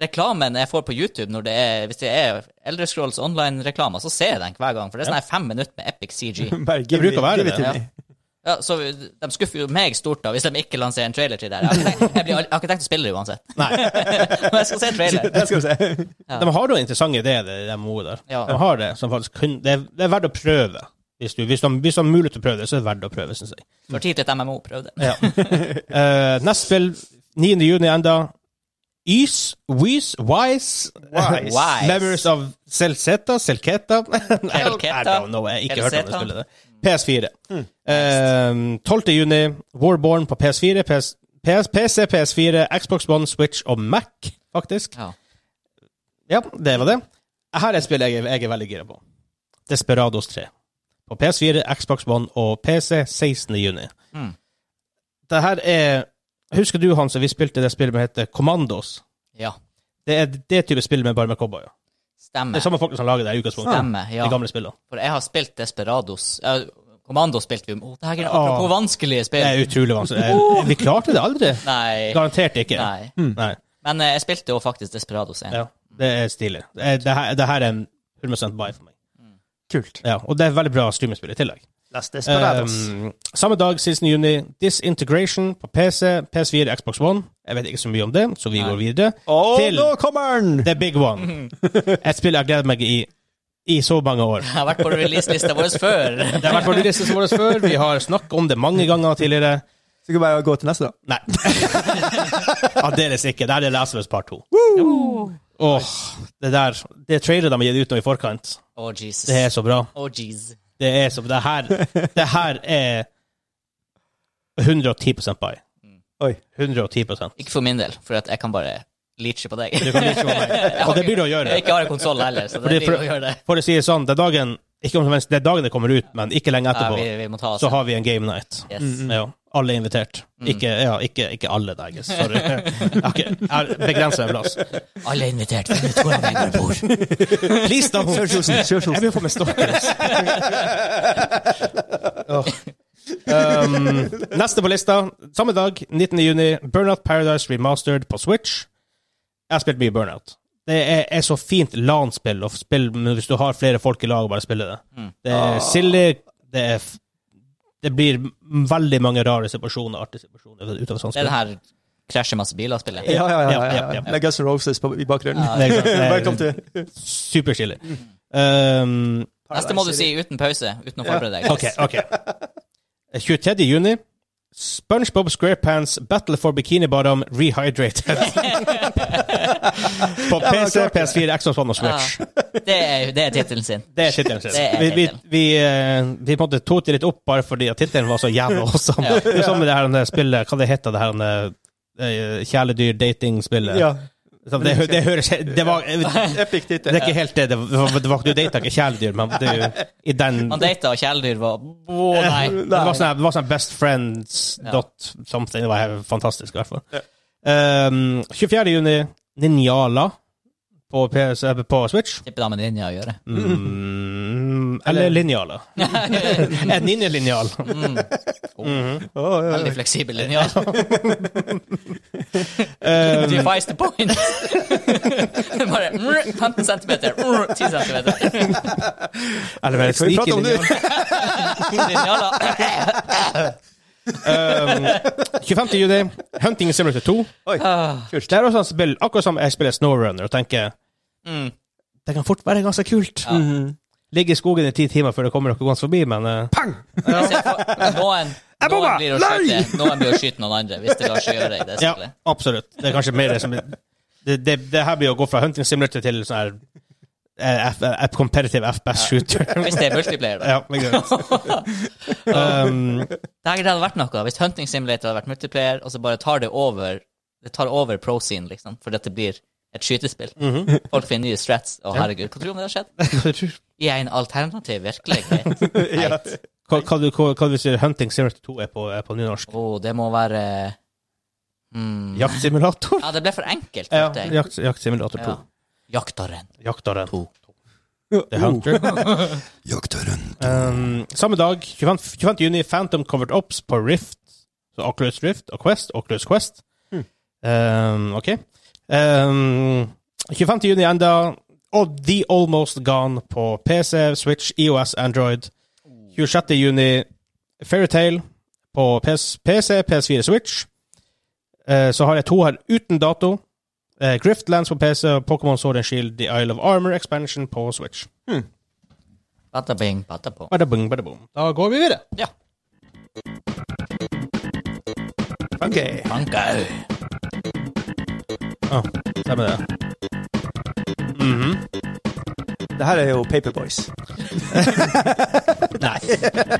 Reklamen jeg får på YouTube, når det er, hvis det er Elder Scrolls online-reklame, så ser jeg den hver gang. For det er sånn her fem minutter med epic CG. Bare give bruker å være give det. to Ja. me. Ja, så De skuffer jo meg stort da hvis de ikke lanserer en trailer til det. her. Jeg har ikke tenkt- jeg blir- jeg har ikke tenkt å spille det uansett. Nei. Men jeg skal se trailer. Det skal vi se. De har jo interessante ideer, de, de MMO der. Ja. De har det, som faktisk kun, det, er, det er verdt å prøve. Hvis du, hvis, de, hvis de har mulighet til å prøve det, så er det verdt å prøve, synes jeg. For tid til et MMO, prøv det. Ja. Eh, neste spill, 9. juni enda. Ys, Wys, Wise, Wise. Wise. Members of Selzeta, Selketa I don't- I don't know, jeg har ikke hørt om det Selzeta. spillet. der. PS4. Eh, 12. juni, Warborn på PS4, PS, PS, PC, PS4, Xbox One, Switch og Mac, faktisk. Ja. Ja, det var det. Her er et spill jeg, jeg er veldig gira på. Desperados 3. på PS4, Xbox One og PC 16. juni. Mm. Det her er Husker du, Hans, at vi spilte det spillet som heter Commandos? Ja. Det er det type spill, men bare med cowboyer. Det er Stemmer. samme folk som lager det i utgangspunktet. Stemmer, ja. De gamle spillene. For jeg har spilt Desperados. Eh, Kommando spilte vi om. Å, det her er apropos vanskelige Det er spill. utrolig vanskelig. Eh, Vi klarte det aldri. Uh. Nei. Garantert ikke. Nei. Mm. Nei. Men eh, jeg spilte jo faktisk Desperados 1. Ja. Det er stilig. Det, er- det, her, det her er en 100 buy for meg. Kult. Ja, og det er et veldig bra streamingspill i tillegg. Last Ehm, Um, samme dag, 16. juni, Disintegration på PC, PS4, Xbox One. Jeg vet ikke så mye om det, så vi Nei. går videre. og til- nå kommer den! The Big One. Et spill jeg har gledet meg i i så mange år. Jeg har vært på releaselista vår før. Det har vært på listen vår før, vi har snakket om det mange ganger tidligere. Så kan vi bare gå til neste, da. Nei. Aldeles ikke. Der er Last of Us Part 2. Åh, det der Det traileret de har gitt ut nå i forkant, Å, Jesus. det er så bra. Å, jeez. Det er som Det her, det her er 110 buy. Oi. 110 Ikke for min del, for at jeg kan bare leache på deg. Du kan ikke gå meg. Og det blir det å Jeg gjøre. ikke har en konsoll heller, så det Fordi blir for- å gjøre det. For å si det sånn, det er dagen ikke om det er dagen det kommer ut, men ikke lenge Ja, vi, etterpå, vi må ta oss så har vi en game night. Yes. Mm. Ja, alle er invitert. Ikke, ja, ikke, ikke alle, da. jeg- Sorry. Okay, jeg begrenser en plass. Alle er invitert. Finn ut hvordan vi går bord. Please, da! Kjør kjosen, kjør Jeg kjosen. begynner å få meg stokkes. um, neste på lista, samme dag, 19. juni, Burnout Paradise Remastered på Switch. Jeg har spilt mye Burnout. Det er, er så fint LAN-spill å spille men hvis du har flere folk i lag og bare spiller det. Mm. Det er silly, det er f- Det blir m- veldig mange rare situasjoner, artige situasjoner sånn ut av sånt Det er spill. den her krasjer masse biler-spillet. Ja, ja, ja. ja, Ja, ja, ja. ja. Med Guns N' Roses på, i bakgrunnen. Ja, Det er ikke sant? Det er Velkommen til Superstilig. Um, Neste må du si uten pause, uten å forberede deg. Ok, ok. 23. juni. SpongeBob SquarePants Battle for Bikini Bottom Rehydrated. På PC, PS4, Xbox One og Switch. Det er, det er tittelen sin. Det er tittelen sin. Ah, Det er Vi, vi, tittelen. vi, eh, vi på en måte tok det litt opp bare fordi at tittelen var så jævla awesome. Ja. Det er som med det her eh, spillet, hva det heter det her eh, kjæledyr-dating-spillet. Ja. Det, det, hø- det høres Det var det Epic er tittel. ikke helt det. det var, det var, du data ikke kjæledyr, men det er jo i den Man data, og kjæledyr var Å, nei. Det var sånn, her- det var sånn her best friends Ja. dot something. Det var helt fantastisk, i hvert fall. Um, 24. juni, Ninjala på, PS, eh, på Switch. Tipper det har med ninja å gjøre. Mm, eller Eh, linjala. En ninjalinjal. Å, ja, Veldig ja. fleksibel linjal. Eh, Device the point. Bare mm, 15 cm, mm, 10 cm. eller vel, Kan vi prate sneaky om det? linjal. Linjaler. 25. juni, Hunting Simulator 2. Oi. Ah, Det er også et spill, akkurat som jeg spiller Snowrunner og tenker Mm. det kan fort være ganske kult. Mhm. Ligge i skogen i ti timer før det kommer noe gående forbi, men eh, Pang! jeg ser for- Noen, noen bomma! blir å Nei! skyte Noen blir å skyte noen andre, hvis det lar seg gjøre i det Ja, spillet. absolutt. Det er kanskje mer det som Det, det, det her blir å gå fra hunting simulator til sånn her eh, F, eh, competitive FPS shooter. Hvis det er multiplayer, da. ja, men greit. Um, Det her hadde vært noe hvis Hunting Simulator hadde vært multiplayer, og så bare tar det over Det tar over pro-scene, liksom, fordi at det blir et skytespill. Mhm. Folk finner nye strats. Å, herregud, hva tror du om det har skjedd? I en alternativ virkelighet. Ja. Heit. hva, hva, du- hva, hva du sier hunting simulator 2 er på, er på nynorsk? Å, oh, det må være mm. Jaktsimulator? Ja, det ble for enkelt. Ja, følte jeg. jakt, jaktsimulator 2. Ja. Jaktaren. Jaktaren. To. The Hunter. Jaktøren. Um, samme dag, 25, 25. juni, Phantom Covered Ops på Rift. Så Oculus Rift og Quest. Oculus Quest. Um, ok. Um, 25. juni enda, og The Almost Gone på PC, Switch, EOS, Android. 26. juni, Fairytale på PS, PC, PS4, Switch. Eh, så har jeg to her uten dato. Eh, Griftlands på PC, Pokémon Sword and Shield, The Isle of Armor Expansion på Switch. Bada bing, bada bo. Bada bing, bada boom. Da går vi videre. Ja. Ok. Bankau. Ja, Ah, stemmer det. Det her er jo Paperboys. Nei.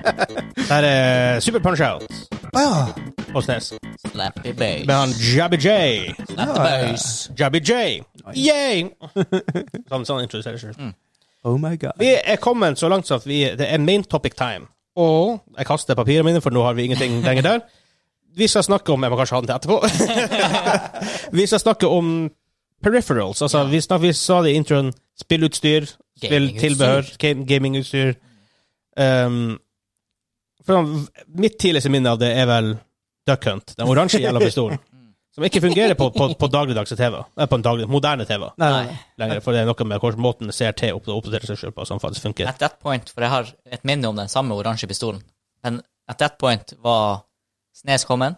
Der er Super Punch-Out Å ja. på SNES. Slappy bass. Med han Jabby J. Slappy bass. Jabby J. Yay! Sånn, sånn introduserer seg. Oh my god. Vi er kommet så langt så at vi, det er main topic time. Og jeg kaster papirene mine, for nå har vi ingenting lenger der. Vi skal snakke om Jeg må kanskje ha den til etterpå. vi skal snakke om peripherals. Altså, vi, snak, vi sa det i introen. Spillutstyr, spilltilbehør, ga- gamingutstyr. Um, for mitt tidligste minne av det er vel Duck Hunt, den oransje jævla pistolen. Som ikke fungerer på, på, på dagligdagse TV. eh, På en daglig, moderne TV Nei, Nei. nei. lenger, for det er noe med hvordan måten CRT opp- oppdaterer seg selv på, som faktisk funker. At that point, for jeg har et minne om den samme oransje pistolen, men at that point var Snes kommet,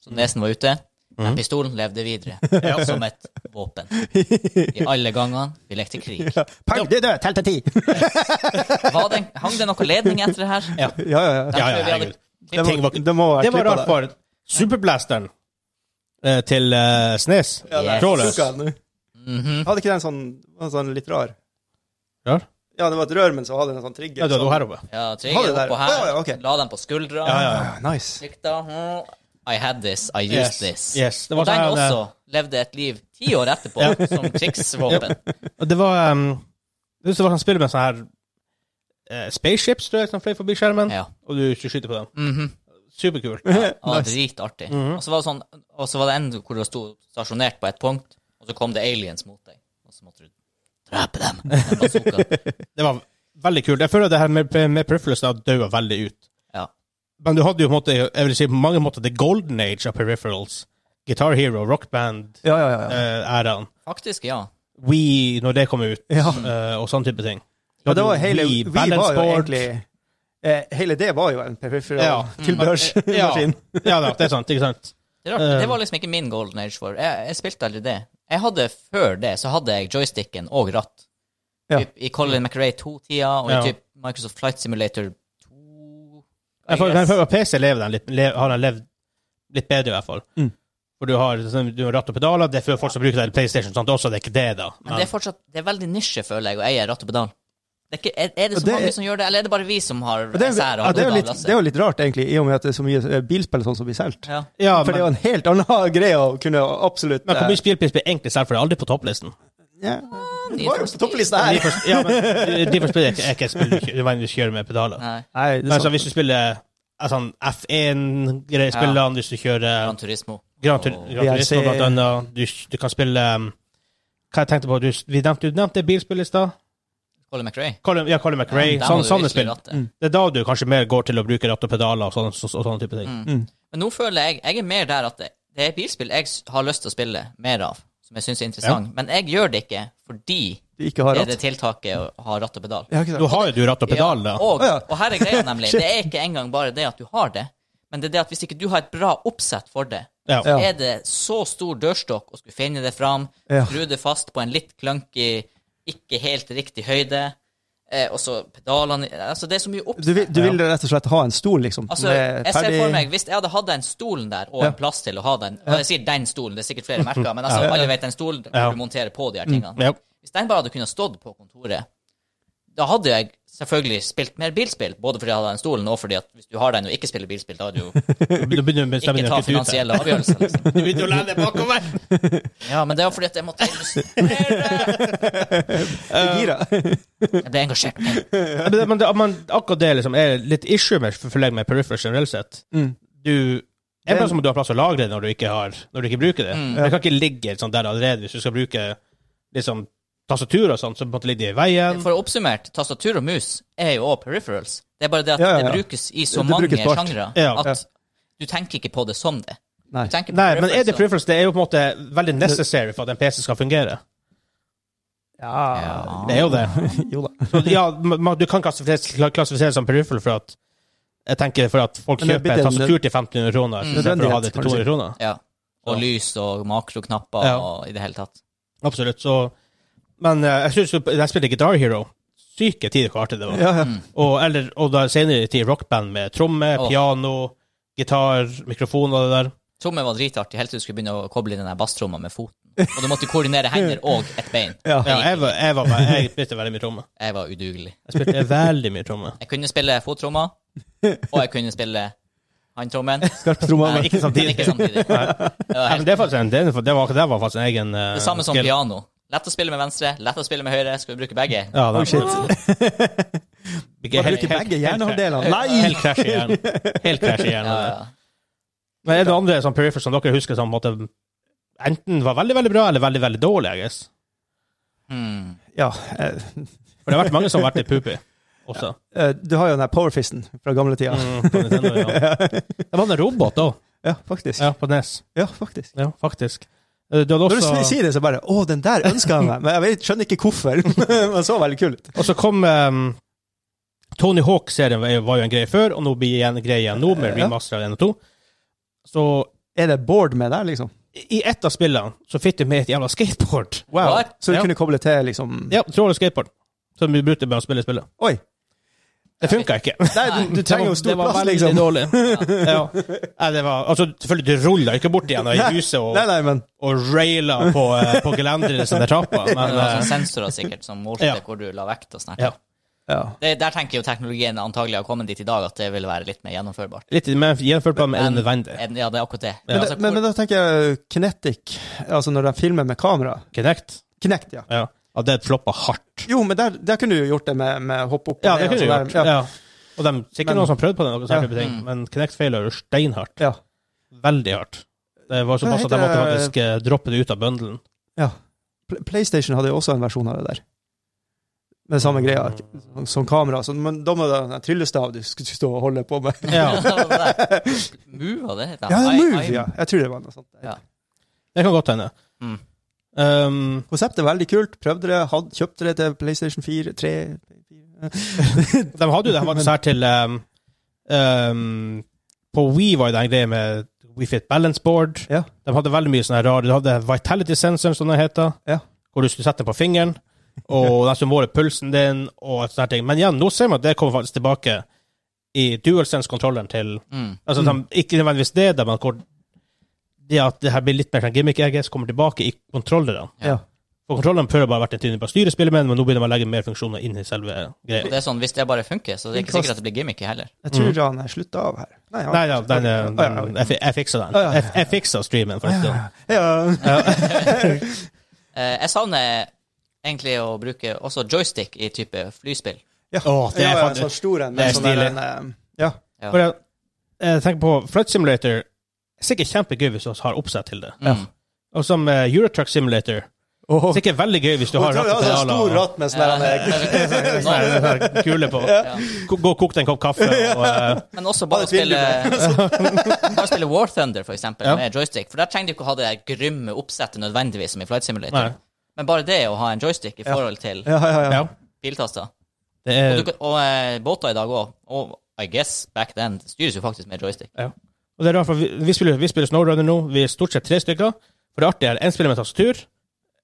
så nesen var ute, men Mhm. pistolen levde videre som et våpen. I alle gangene vi lekte krig. Ja. Pang, du er død! Tell til ti! Var det, hang det noe ledning etter det her? Ja, Ja, ja, ja. ja, tror ja jeg vi hadde- herregud. Det Ting må, var ikke- det må være Det var klippet rart, for Superblasteren eh, til eh, Snes Ja, det er- Trådløs. Lukka den. Mhm. Hadde ikke den sånn, var sånn litt rar? Rar? Ja, det var et rør, men så hadde den en sånn trigger. Ja, du hadde sånn- hun her oppe. Ja, Har trigger du det oppå der? her, Ja, ja, ok. la den på skuldra, Ja, ja, ja. Ah, nice. sikta, hm, I had this, I used Yes. this. Yes. Det Og var, den sånn, her, også levde et liv ti år etterpå som krigsvåpen. eh, det var um, Jeg husker det var sånn spill med sånn her eh, spaceships, tror jeg, som fløy forbi skjermen, Ja. og du skulle skyte på dem. Mhm. Superkult. Ja, dritartig. Mhm. Og så var det sånn, og så var det en hvor du sto stasjonert på et punkt, og så kom det aliens mot deg. Og så måtte du drepe dem med en bazooka. Det var veldig kult. Jeg føler det her med, med Peripherals da daua veldig ut. Ja. Men du hadde jo på en måte, jeg vil si, på mange måter the golden age av Peripherals. Guitar Hero, Rock Band, Ja, ja, ja. ja. eh, æraen. Faktisk, ja. We, når det kom ut, Ja. eh, og sånn type ting. ja det var hele, Wii, vi var Balance jo Board. egentlig eh, Hele det var jo en peripheral Ja. Ja, tilbørsmaskin. ja da, det er sant. ikke sant? Det, er Eh. rart. det var liksom ikke min golden age for. Jeg, jeg spilte aldri det. Jeg hadde Før det så hadde jeg joysticken og ratt. Ja. Mm. Typ I Colin McRae 2-tida og Ja. i typ Microsoft Flight Simulator 2 Jeg får, I jeg guess. føler at PC lever den litt, le, har den levd litt bedre, i hvert fall. Mm. For du har, sånn, du har ratt og pedaler, det er for folk som bruker det i PlayStation, sant? også, det er ikke det, da. Men det er fortsatt Det er veldig nisje, føler jeg, å eie ratt og pedal. Det er, ikke, er, er det så Og det- mange som gjør det, eller er det bare vi som har Og Det, er- sær ja, det, er jo litt, Lasse? det er jo litt rart, egentlig, i og med at det er så mye eh, bilspill og sånn som blir solgt. Ja. Ja, For det er jo men, en helt annen greie å kunne absolutt men hvor eh, mye spillpris blir egentlig selv, for det er aldri på topplisten. ja. Det var jo på topplista De her! får, ja, men de får spille er ikke et spill du kjø- vanligvis kjører med pedaler. Nei. Nei, Men det er sånn altså, sant. hvis du spiller eh, sånn F1-spillene, hvis du kjører Gran Turismo. Gran Tur- Og- Gran Turismo VRC. blant annet, du, du kan spille um, Hva jeg tenkte på, du, vi nevnte, du nevnte bilspill i stad? Colin McRae. Colin, ja, Colin McRae. Ja, der må sånn, du sånne virkelig spill. ratte. Mm. Det er da du kanskje mer går til å bruke ratt og pedaler og sånne, så, og sånne type ting. Mm. Mm. Men nå føler jeg Jeg er mer der at det, det er bilspill jeg s- har lyst til å spille mer av, som jeg syns er interessant, men jeg gjør det ikke fordi du ikke har det er det ratt. tiltaket å ha ratt og pedal. Ja, ikke Nå sant. har jo du ratt og pedal, da. og, Å, ja. og her er greia, nemlig. Det er ikke engang bare det at du har det, men det er det at hvis ikke du har et bra oppsett for det, Ja. så Ja. er det så stor dørstokk å skulle finne det fram, Ja. skru det fast på en litt clunky, ikke helt riktig høyde, eh, og så pedalene Altså, det er så mye oppsett. Du, vil- du vil rett og slett ha en stol, liksom? Altså, med jeg ser ferdig- for meg, Hvis jeg hadde hatt den stolen der, og en plass til å ha den og Jeg sier den stolen, det er sikkert flere merker, men altså, alle vet den stolen Ja. du monterer på de her tingene. Ja. Hvis den bare hadde kunnet stått på kontoret, da hadde jeg selvfølgelig spilt mer bilspill, både fordi jeg hadde den stolen, og fordi at hvis du har den og ikke spiller bilspill, da har du jo Du begynner å ikke ta finansielle avgjørelser. Liksom. Du begynner å lene deg bakover. Ja, men det er jo fordi at jeg måtte illustrere Jeg gira. Eh, Jeg ble engasjert. Ja, men det- men, det, men akkurat det liksom, er litt issue med, for meg med peripherals generelt sett. Mm. Du en plass må du ha plass å lagre det når du ikke, har, når du ikke bruker det. Det kan ikke ligge sånn der allerede hvis du skal bruke liksom, tastatur og sånn, så på en måte ligger det i veien. For oppsummert, tastatur og mus er jo også peripherals. Det er bare det at Ja, ja, ja. det brukes i så Det mange brukes på alt. sjangre Ja. at du tenker ikke på det som det. Nei. Du tenker på Nei, men er det som- peripherals? Det er jo på en måte veldig necessary for at en PC skal fungere. Ja Det er jo det. Jo da. Så, ja, ma- ma- du kan klassifisere, klassifisere som peripheral for at jeg tenker for at folk Men det er kjøper blitt en en tastatur til 1500 kroner mm. for å ha det til Nødvendighet, kan du si. 200 kroner. Ja. Og Så. lys og makroknapper Ja. og i det hele tatt. Absolutt. Så, men eh, jeg synes jo- jeg spilte Guitar Hero. Syke tider hvor artig det var. Ja, ja. Mm. Og, eller, og da senere i tid rockband med tromme, Åh. piano, gitar, mikrofon og det der. Trommer var dritartig, helt til du skulle begynne å koble inn den der basstromma med foten. Og du måtte koordinere hender og et bein. Ja. Ja, jeg, var, jeg, var, jeg spilte veldig mye tromme. Jeg var udugelig. Jeg spilte veldig mye tromme. Jeg kunne spille fottromma, og jeg kunne spille håndtrommen. Skarptromma. Men ikke samtidig. Ikke samtidig. Det, var Ja, men helt, det, er faktisk en, det, er- det, var, det var faktisk en egen eh, det samme som skill. piano. Lett å spille med venstre, lett å spille med høyre. Skal vi bruke begge? Ja, Oh, da- shit. Ikke helt- Bare bruke helt- begge helt- hjernehalvdelene. Nei! Helt krasj i hjernen. Helt krasj i hjernen. Ja, ja. Men er det andre sånn peripherals som dere husker som på en måte, enten var veldig, veldig bra, eller veldig, veldig dårlig, I guess? Hmm. Ja. eh, For det har vært mange som har vært litt poopy også. eh, Du har jo den der powerfisten fra gamle tida. Mm, på Nintendo, ja. Det var en robot òg, Ja, faktisk. ja, på NES. Ja, faktisk. Ja, faktisk. Eh, Du hadde Når du sn- også sier det, så bare Å, den der ønska jeg meg! Men jeg vet, skjønner ikke hvorfor. Men den så veldig kul ut. Og så kom eh, Tony Hawk-serien var jo- var jo en greie før, og nå blir det en greie igjen nå, med Ja. remaster av 1 og 2. Så Er det board med der, liksom? i ett av spillene så fikk du med et jævla skateboard. Wow. What? Så du Ja. kunne koble til, liksom Ja, tråler skateboard. Som vi brukte med å spille spillet. Oi! Det funka ikke. Nei, du, du trenger jo Det stor var plass, veldig liksom. dårlig. Ja. Nei, det var, altså, selvfølgelig, du rulla ikke bort igjen og i huset og, Nei, nei, men og raila på, eh, på gelenderet som det trappa, Det men var eh, sånne sensorer sikkert som målte Ja. hvor du la vekt og sånt. Ja. Ja. Det, der tenker jo teknologien antagelig har kommet dit i dag, at det vil være litt mer gjennomførbart. litt mer gjennomført plan er det nødvendig. En- Ja, det er akkurat det. Men, Altså, da- men, men da tenker jeg Kinetic, altså når de filmer med kamera. Connect. Kinect, ja. Ja. ja, det floppa hardt. Jo, men der, der kunne du jo gjort det med, med hopp opp og Ja, det ned og kunne du sånn gjort. der. Ja. Og de, sikkert Men- noen som prøvde på den, noen Ja. sånne type ting, Mm. men Connect feiler jo steinhardt. Ja. Veldig hardt. Det var Hva såpass at de måtte heter- faktisk eh, droppe det ut av bundlen. Pl- PlayStation hadde jo også en versjon av det der. Med samme greia, Mm. som- som kamera. Så, men da må du ha en tryllestav du skulle stå og holde på med. Ja. Move, var det heter Ja, det er I- Move, I- ja. Jeg tror det var noe sånt. Ja. Det kan godt hende. Mm. Um, Konseptet er veldig kult. Prøvde det, had, kjøpte det til PlayStation 4, 3 De hadde jo det her var det så her til um, um, På Wii var jo det en greie med WeFit Balance Board. Ja. De hadde veldig mye sånne her rare Du hadde Vitality Sensor, som det heter, Ja. hvor du skulle sette den på fingeren, og den som måler pulsen din, og et sånt her ting. Men igjen, nå ser man at det kommer faktisk tilbake i DualSense-kontrolleren til Mm. Altså, Mm. de, ikke nødvendigvis det, da, men hvor det at det her blir litt mer sånn gimmick, jeg guess, kommer tilbake i kontrollerne. Ja. For kontrollerne før har bare vært en tydning på å styre spillet med, men nå begynner man å legge mer funksjoner inn i selve Og greia. det er sånn, Hvis det bare funker, så det er ikke sikkert at det blir gimmicky heller. Jeg tror han er slutta av her. Nei, han- Mm. Nei, ja, den, er- Å, ja, den, ok. jeg, fi- jeg fiksa den. Å, ja, ja, ja. Jeg, jeg fiksa streamen, for å si det sånn. ja. Eh, jeg savner egentlig å bruke også joystick i type flyspill. Ja. Å, det er ja, ja, faktisk- sånn stor en. det er sånn der stilig. en, eh, ja. Ja. For jeg, jeg tenker eh, på Flight Simulator Sikkert kjempegøy hvis du har oppsett til det. Mm. Og som eh, Eurotruck Simulator Sikkert veldig gøy hvis du har Og tror jeg hadde en stor rattepedaler og ratt med sånn Ja. der, en, eh, Nei, det er sånn kule på. Ja. Gå og koke deg en kopp kaffe og eh, Men også bare å Hadde et spille, bare spille War Thunder, for eksempel, Ja. med joystick. For der trenger du ikke å ha det der grymme oppsettet nødvendigvis, som i Flight Simulator. Nei. Men bare det å ha en joystick i Ja. forhold til Ja, ja, ja. Ja. biltaster. Det Og, er du, kan- og eh, båter i dag òg. Og I guess back then det styres jo faktisk med joystick. Og det er rart, for vi, vi, spiller, vi spiller SnowRunner nå. Vi er stort sett tre stykker. For det artige er én spiller med tastatur,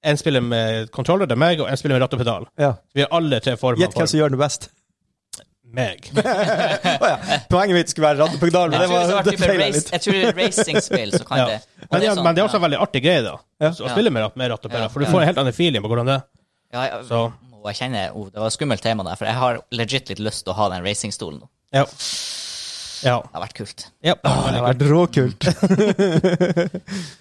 én spiller med controller, det er meg, og én spiller med ratt og pedal. ja. Vi har alle tre former Gjett hvem for som gjør det best. meg. Å ja. Poenget mitt skulle være rattepedal, Jeg men det tror var det det har feila vært litt. type race- jeg tror det er racingspill, så kan Ja. det og Men, det er, sånn, men det er også ja. en veldig artig greie, da. Ja. Så Å spille med ratt, med ratt og pedal, Ja. for du får en helt annen feeling på hvordan det er. ja, ja, Så Å, Jeg kjenner oh, Det var et skummelt tema der, for jeg har legit litt lyst til å ha den racingstolen nå. ja. Ja. Det har vært kult. ja. Det har vært råkult.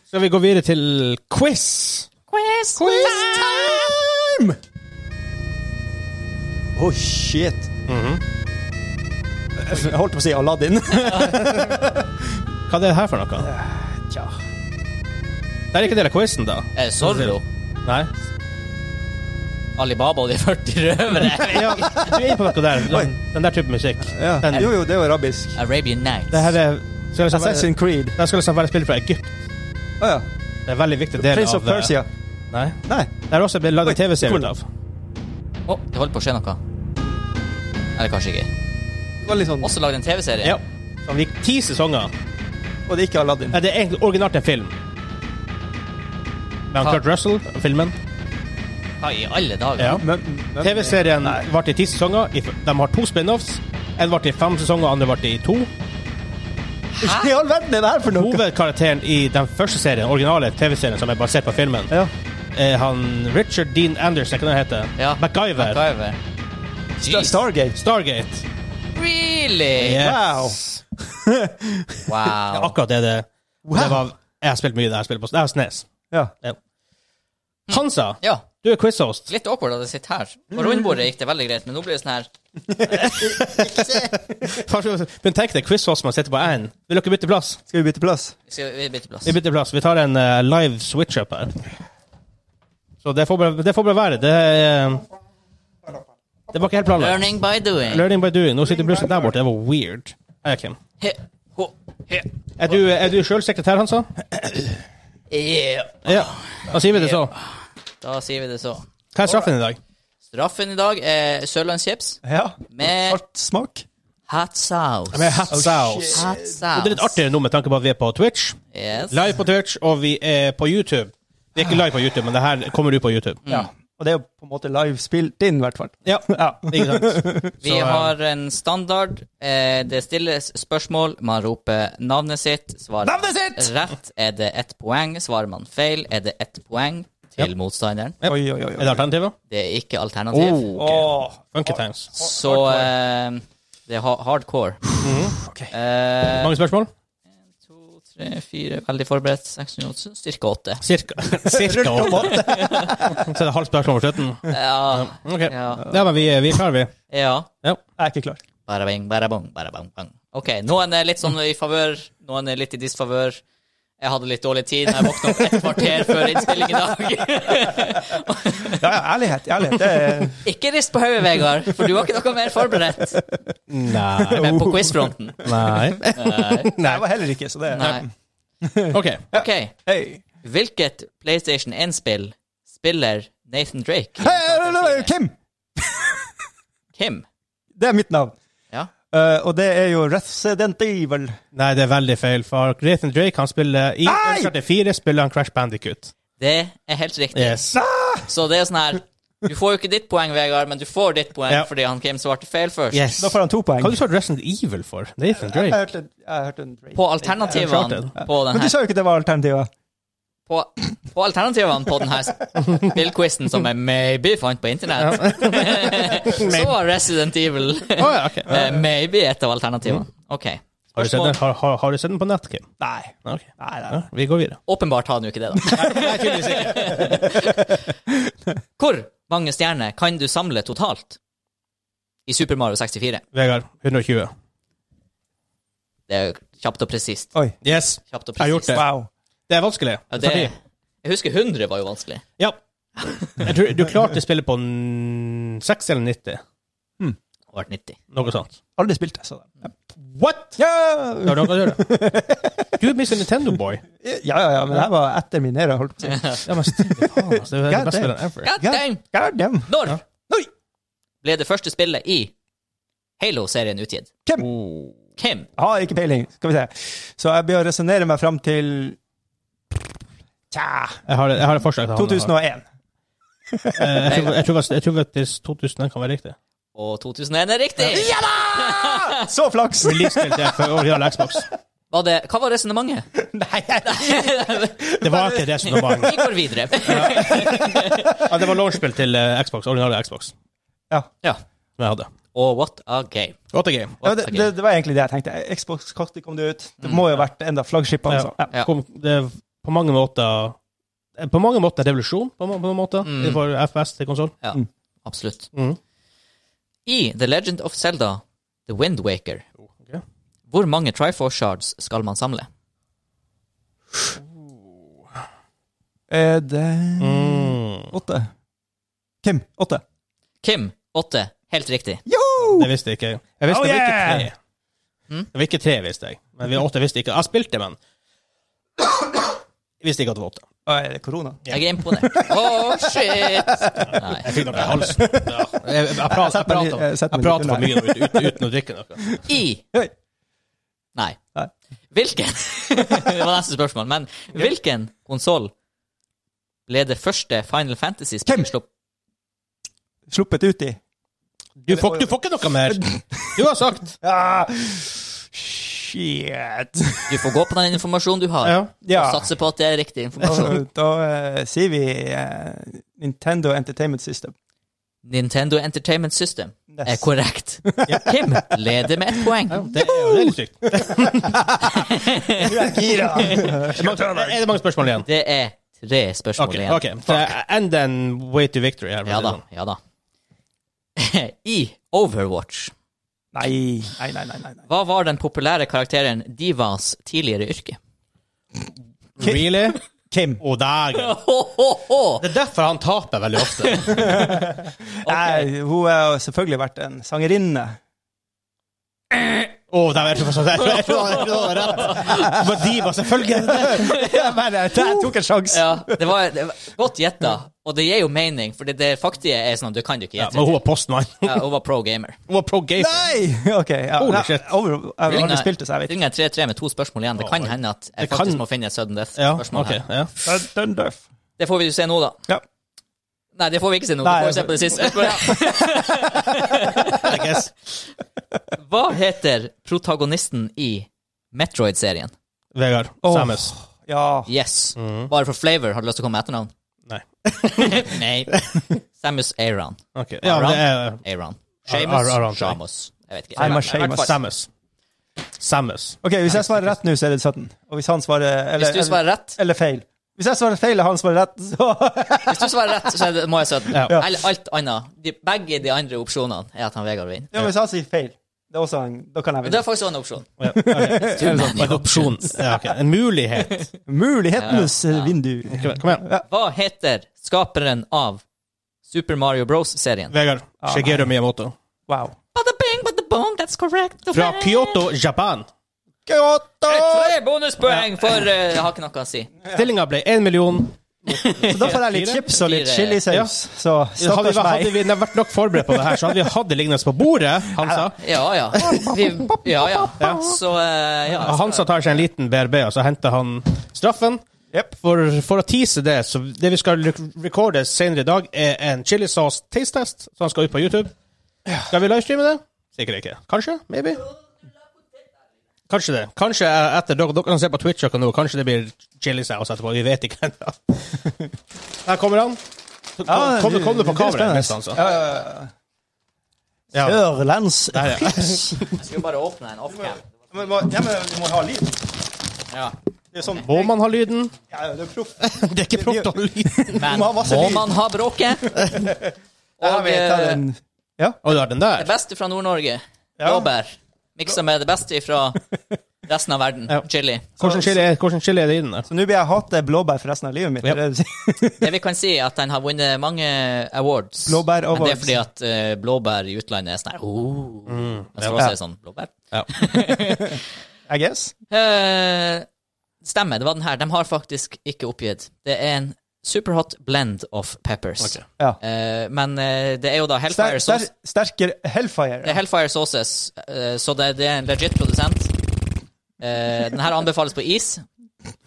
Skal vi gå videre til quiz? Quiz! Time! Oh, shit. Mhm. Jeg holdt på å si Aladdin. Hva er det her for noe? Tja. Det er ikke del av quizen, da. Eh, Zorro. Nei? Alibaba og de 40 røvere. Ja, du er inne på noe der. Den, den der type musikk. Ja. Den, Jo, jo, det er jo arabisk. Arabian Nights. det her er skal jeg si- Assassin's Creed. Den skal liksom være spilt fra Egypt. Å ja. Det er en veldig viktig del Prince av of Persia. Nei. Nei. Det er også blitt laget Oi, TV-serie cool. ut av. Å, det holder på å skje noe. Eller kanskje ikke. Det var litt sånn Også lagd en TV-serie. Ja. Som gikk ti sesonger. Og det er ikke Aladdin. Nei, det er egentlig originalt en film. Med Ha. Kurt Russell, filmen. Hva i alle dager? Ja. Men- men- TV-serien varte i ti sesonger. I f- De har to spin-offs. En varte i fem sesonger, andre varte i to. Hva i all verden er det her for noe? Hovedkarakteren i den første serien, originale TV-serien som er basert på filmen, Ja. er han Richard Dean Anderson, hva det heter Ja. MacGyver. MacGyver. Star- Jeez. Stargate. Stargate. Really? Yes. Wow. Akkurat det det, Wow. det var. Jeg har spilt mye der. Jeg har spilt på jeg har SNES. Ja. Mm. Ja. Hansa, Ja. Du er quizhost. Litt awkward at jeg sitter her. Mm. På rundbordet gikk det veldig greit, men nå blir det sånn her Men tenk deg quizhost man sitter på én. Vil dere bytte plass? Skal vi bytte plass? Vi skal vi bytter plass. Vi bytter plass. Vi tar en eh, live switch-up her. Så det får bare, det får bare være. Det, er, eh, det var ikke helt planlagt. Learning by doing. Learning by doing. Nå sitter blussen der borte. Det var weird. Hei, Kim. He, ho, he. Er du, er du sjøl sekretær, Hansa? Yeah. Ja. Da sier vi det så. Da sier vi det så. Hva er straffen i dag? Straffen i dag er sørlandschips Ja. med Svart smak? hot sauce. Med hot Oh, sauce. Hot Og Det er litt sauce. artigere nå med tanke på at vi er på Twitch. Yes. Live på Twitch, og vi er på YouTube. Vi er ikke live på YouTube, men det her kommer ut på YouTube. Ja. Og det er jo på en måte live spilt inn, i hvert fall. Ja, ikke sant? Vi Så, eh, har en standard. Eh, det stilles spørsmål. Man roper navnet sitt. Svarer Navnet sitt! rett, er det ett poeng. Svarer man feil, er det ett poeng til motstanderen. Ja. Oi, oi, oi. Er det alternativer? Det er ikke alternativ. Oh. Åh, Funky times. Så eh, det er ha hardcore. Ok. Eh, Mange spørsmål? to, tre, fire, veldig forberedt. 608, styrke 8. Cirka. Cirka åtte. Så er det halvt spørsmål på slutten. Ja. Ok. ja. Ja, men vi, vi er klare, vi. ja. Ja. Jeg er ikke klar. Bara bing, bara bong, bara bang, bang. Ok, noen er litt sånn i favør, noen er litt i disfavør. Jeg hadde litt dårlig tid, jeg våkna opp et kvarter før innspilling i dag. Ja, ja, ærlighet. ærlighet. Det er, Ikke rist på hodet, Vegard, for du var ikke noe mer forberedt Nei. men på quizfronten. Nei. Nei. Nei, jeg var heller ikke, så det Nei. OK. Ok, Hei. hvilket PlayStation 1-spill spiller Nathan Drake? Hei, hei, hei, hei, Kim! Kim? Det er mitt navn. Ja. Eh, og det er jo Resident Evil. Nei, det er veldig feil, for Nathan Drake han spiller i Nei! 44 spiller han Crash Bandicoot. Det er helt riktig. Yes. Så det er sånn her Du får jo ikke ditt poeng, Vegard, men du får ditt poeng Ja. fordi han Kim svarte feil først. yes. Da får han to poeng. Hva har du svart Resident Evil for? Nathan Jeg Drake? hørte, jeg hørte en break. På klart alternativene det. på den Men du her sa jo ikke det var alternativet. På, på alternativene på den her spillquizen som jeg maybe fant på internett, så var Resident Evil Å ja, ok. eh, maybe et av alternativene. OK. Har du, sett den? Har, har, har du sett den på nett, Kim? Nei. Ok. Nei, nei, Ja, nei. vi går videre. Åpenbart har han jo ikke det, da. Hvor mange stjerner kan du samle totalt i Super Mario 64? Vegard, 120. Det er jo kjapt og presist. Oi. Yes. Kjapt og Jeg har gjort presist. det. Wow. Det er vanskelig. Ja, det, Fordi, jeg husker 100 var jo vanskelig. ja. Jeg tror du klarte å spille på n- 6 eller 90. Det har vært 90. Noe sånt. Aldri spilt det, så ja. What?! Ja. Det har noe å gjøre. Du er Mr. Nintendo-boy. ja, ja, ja, men det her var etter min æra, holdt på å si. Ja, men stilig faen, altså. Det er det beste God damn. spillet ever. God damn! God damn. Når Oi. ble det første spillet i Halo-serien utgitt? Hvem? Oh. Hvem? Har ikke peiling. Skal vi se. Så jeg bør resonnere meg fram til Tja Jeg har, jeg har et forslag til han. 2001. Eh, Jeg tror, jeg tror, jeg tror faktisk 2000 kan være riktig. Og 2001 er riktig! Så flaks! Release-spill til for original Xbox. Var det, hva var resonnementet? Nei, jeg- Det var ikke det som var Vi går videre. ja, Det var launchspill til eh, Xbox, originale Xbox, ja. ja. som jeg hadde. Og what a game. What a game. Ja, det, det, det var egentlig det jeg tenkte. Xbox Cockty kom det ut. Det må jo ha vært enda flaggskipet. Altså. Ja. Ja. Kom, det er på mange måter eh, På mange måter revolusjon, på, ma- på mange måter, for FS til konsoll. Ja, absolutt. Mm. I The Legend of Zelda, The Wind Waker, Oh, ok. hvor mange Triforce shards skal man samle? Er det Mm. åtte? Kim, åtte. Kim, åtte. Helt riktig. Joho! Det visste ikke jeg. Jeg visste Oh, det var yeah! ikke tre. Det var ikke tre, visste jeg. Men vi åtte visste ikke. Jeg spilte, men Jeg visste ikke at det var åtte. Å, Er det korona? Jeg er imponert. Oh, shit! Nei. Jeg fikk noe i halsen. Ja. Jeg, jeg, jeg, prater- jeg, setter meg litt- prater- jeg jeg setter meg prater litt for mye nå, ut, ut, uten å drikke noe. I Hei. Nei. Nei. Hvilken Det var neste spørsmål, men hvilken konsoll ble det første Final Hvem? Fantasy-spillet slupp- Sluppet uti. Du får, du får ikke noe mer. Du har sagt. Ja. Ah, Shit. Du får gå på den informasjonen du har, Ja. Ja. og satse på at det er riktig informasjon. Da, da eh, sier vi eh, Nintendo Entertainment System. Nintendo Entertainment System er Yes. korrekt. Kim leder med ett poeng. Det er jo det er litt sykt. Gira! Er det mange spørsmål igjen? Det er tre spørsmål Ok, igjen. ok. Så, and then way to victory. Her, for å Ja da. si det sånn. Ja da. I Overwatch, Nei, nei, nei. nei, nei, nei. hva var den populære karakteren Divas tidligere yrke? Really? Kim. Å, dægen. Ho-ho-ho! Det er derfor han taper veldig ofte. nei hun har selvfølgelig vært en sangerinne. Å, oh, jeg trodde jeg trodde- jeg trodde jeg trodde det var rett. Men de var selvfølgelig Jeg bare, jeg tok en sjanse. Ja, det var, det var godt gjetta, og det gir jo mening, for det, det faktige er sånn at du kan jo ikke ja, gjette. Men hun var postmann. Ja, hun var pro gamer. Hun var pro gamer. Nei! Ok. Ja. Holy Nei, shit. Over, jeg har aldri spilt det, så jeg vet ikke. Ringer 3-3 med to spørsmål igjen. Det kan hende at jeg Det kan- faktisk må finne et sudden Ja, death-spørsmål ok. her. Ja. Dun Duff. Det får vi jo se nå, da. Ja. Nei, det får vi ikke se nå. Nei, vi får se på det siste. I guess. Hva heter protagonisten i Metroid-serien? Vegard. Åh. Samus. Ja. Yes. Bare for flavor. Har du lyst til å komme med etternavn? Nei. Nei. Samus Aron. Ok. Ja, men det er Aron. Ar- Ar- Aron, Shamus. sorry. Shamus. Jeg vet ikke. Nei, men I hvert fall. Samus. Samus. Ok, hvis jeg svarer rett nå, så er det 17. Og hvis han svarer eller, Hvis du svarer rett, eller, eller feil. Hvis jeg svarer feil, og han svarer rett, så hvis du svarer rett så er det- må jeg søte. Ja. Eller alt annet. De, begge de andre opsjonene er at han Vegard vinner. Ja, men hvis han sier feil, det er også en, da kan jeg Men det vinne. er faktisk også en opsjon. Ja, ok. En opsjon. Ja, ok. En mulighet. Mulighetenes Ja, ja. vindu. Kom kom igjen. Hva heter skaperen av Super Mario Bros-serien? Vegard. Ah, Shigeru nei. Miyamoto. Wow. Bada-bing, bada-boom, that's correct. Fra Kyoto, Japan. Tre bonuspoeng for eh, Jeg har ikke noe å si. Stillinga ble 1 million. Så da får jeg litt Fire? chips og litt Fire. Ja. chilisaus. Så Hadde vi, stakkars meg. hadde vi vært nok forberedt på det her, så hadde vi hatt det liggende på bordet. Hansa. Ja, ja. Vi, ja, ja. Så eh, ja. Ja, Hansa tar seg en liten BRB, og så henter han straffen. Jep. For, for å tease det, så det vi skal rek- recorde senere i dag, er en chilisauce taste test, som skal ut på YouTube. Skal vi livestreame det? Sikkert ikke. Kanskje? Maybe? Kanskje det. Kanskje eh, etter dere, dere kan se på Twitch akkurat nå, kanskje det blir chilisauce etterpå. Vi vet ikke ennå. Her kommer han. Ja, Kom, kom Ah, det på blir kameraet? spennende. nesten, Altså. Ja, ja, ja. Ja. Sørlands Der, ja. Jeg skal bare åpne en offcam. Men må- ja, men du må ha lyd. Ja. Det er sånn Må man ha lyden? Ja, ja, det er proff. Det er ikke proft å ha lyden. Men Du må ha masse må lyd. man ha bråket? Jeg Og vet, jeg eh, er en- Å, du har den det der? beste fra Nord-Norge, blåbær, miksa med det beste fra resten av verden, Ja. chili. Hvordan chili, er- hvordan chili er det i den der? Så nå blir jeg hate blåbær for resten av livet mitt. Ja. er det du sier? Det vi kan si, er at den har vunnet mange awards. Men Blåbær det er awards. fordi at eh, blåbær i utlandet er sånn her oh. Mens for oss er det sånn blåbær. I guess. Eh, stemmer, det var den her. De har faktisk ikke oppgitt. Det er en superhot blend of peppers. Ok. Ja. Eh, men eh, det er jo da Ster, Hellfire ster, Sauce. sterkere Hellfire. Det er Hellfire Sauces, eh, så det, det er en legit produsent. Eh, den her anbefales på is.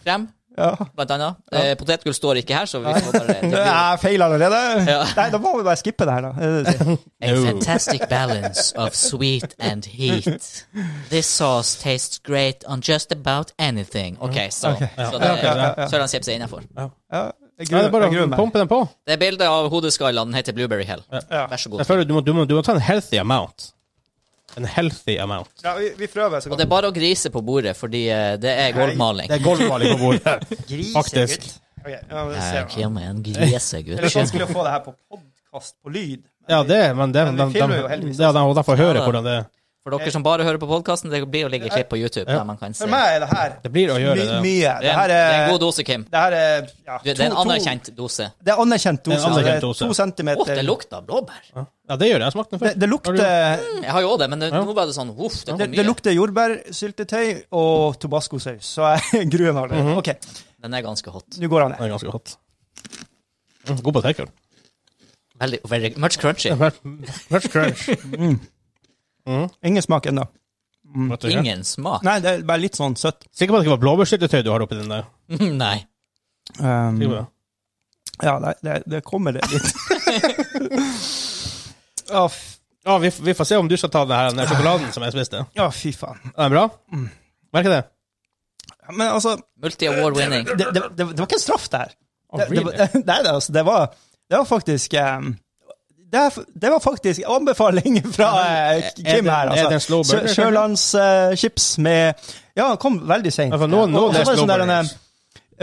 Krem, Ja. blant annet. Eh, potetgull står ikke her, så vi får bare det Nå er blir Jeg feil allerede. Ja. Nei, da må vi bare skippe det her, da. Er det det du sier? A fantastic balance of sweet and heat. This sauce tastes great on just about anything. Ok, så, så det, Ja, ok, ja, så er den chips er innenfor. Ja, jeg Ja, det gruer, er bare jeg gruer å meg. pumpe den på. Det er bildet av hodeskallen. Den heter Blueberry Hell. Ja. Vær så god. Jeg føler du må, du, må, du må ta en healthy amount. En healthy amount. Ja, vi, vi prøver så Og godt. det er bare å grise på bordet, fordi eh, det er gulvmaling. Det er golfmaling på bordet. faktisk. Grisegutt. Ok, ja, men det ser Jeg jeg. kommer en grisegutt. Det er litt vanskelig å få det her på podkast på lyd. Ja, det, men det, Men vi de, de, filmer jo heldigvis ja, de, og de får høre Ja, da. hvordan det For dere som bare hører på podkasten, det blir å ligge klipp på YouTube. der man kan se. For Det meg er det her Det blir å gjøre my, det. mye. er Det en, her det er en er god dose, Kim. Det her er ja, Det er en to- to- anerkjent dose. Det er anerkjent er en dose. ja. Det anerkjent er dose. to Å, centimeter det lukter blåbær. Ja, det gjør det. Jeg smakte den det, før. det lukter Jeg har jo også det, men det, nå var det sånn uff, det Det, kom det mye. lukter jordbærsyltetøy og tobascosaus, så jeg gruer Mhm. meg allerede. OK, Den er ganske hot. nå går Den han ned. er ganske hot. Mm, God på takeover. Veldig, very much crunchy. Much crunch. Ingen smak ennå. Godt å gjøre. Ingen smak. Nei, det er bare litt sånn søtt. Sikker på at det ikke var blåbærsyltetøy du har oppi den der? Nei. Um, Sikker på det? ja, det, det, det kommer det litt. Å, f- Ja, vi, vi får se om du skal ta den her den der sjokoladen som jeg spiste. å, fy faen. Er den bra? Mm. Merker det? Men altså, Multi-award winning. det, det, det, det var ikke en straff, det her. Oh, Det, det, really? det, nei, det, altså, det, var, det var faktisk um, det, er f- det var faktisk en anbefaling fra eh, Kim det- her. er det en slow burner, Sjø- Sjølands eh, chips med Ja, han kom veldig seint. Ja, for noen- noen er slow burners. sånn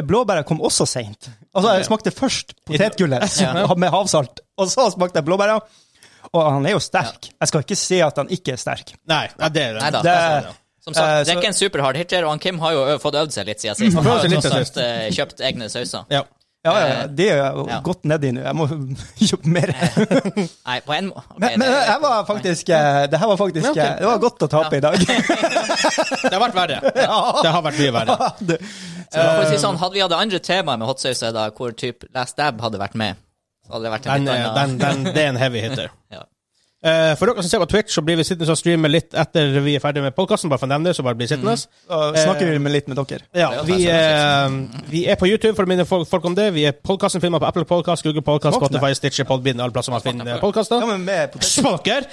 Blåbæret kom også seint. Altså, jeg smakte først potetgullet Ja. med havsalt, og så smakte jeg blåbæra. Og han er jo sterk. Jeg skal ikke si at han ikke er sterk. Nei, nei, det er det. Neida. Det, Som sagt, Eh, det så- Mm. er ikke en superhard hitter, og han Kim har jo ø- fått øvd seg litt siden sist. Han Han prøver har seg jo litt tross til alt eh, kjøpt egne sauser. Ja. ja, ja, ja, det er jeg Ja. godt nedi nå. Jeg må kjøpe mer. Nei, på en måte Men, men det her var faktisk eh, Det her var faktisk Ja, ok. eh, Det var godt å tape i dag. Det har vært verre. Ja. Det har vært mye verre. Det- si sånn, Hadde vi hatt andre temaer med hotsauser, da, hvor typ Last Dab hadde vært med, så hadde det vært en Den, litt eh, er- annen den, den, det er en heavy hitter. ja. Eh, for dere som ser på Twitch, så blir vi sittende og streame litt etter vi er ferdig med podkasten. Bare for å nevne det, så bare blir sittende. Og snakker vi med litt med dere. Ja, vi, eh, vi er på YouTube, for å minne folk, folk om det. Vi er podkastenfilmer på Apple Podcast, Google Podcast, Smakte. Spotify, Stitcher, Podbean, alle plasser man finner Ja, podkaster. men med potet- Smaker!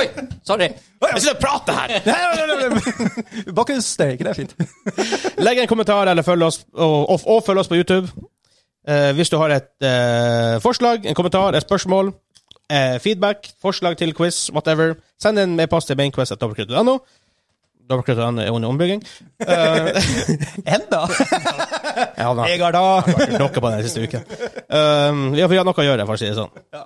Oi, sorry! Jeg sitter og prater her! Bakgrunnsstøy, ikke det er fint? Legg en kommentar, eller følg oss, og, og, og følg oss på YouTube. Eh, hvis du har et eh, forslag, en kommentar, et spørsmål, eh, feedback, forslag til quiz, whatever, send en e-post til mainquest.no. Dobbeltkrutt.no er under ombygging. Enda? Ja, da. Jeg har da Dere på den siste uken. Um, ja, for vi har noe å gjøre, for å si det sånn. Ja.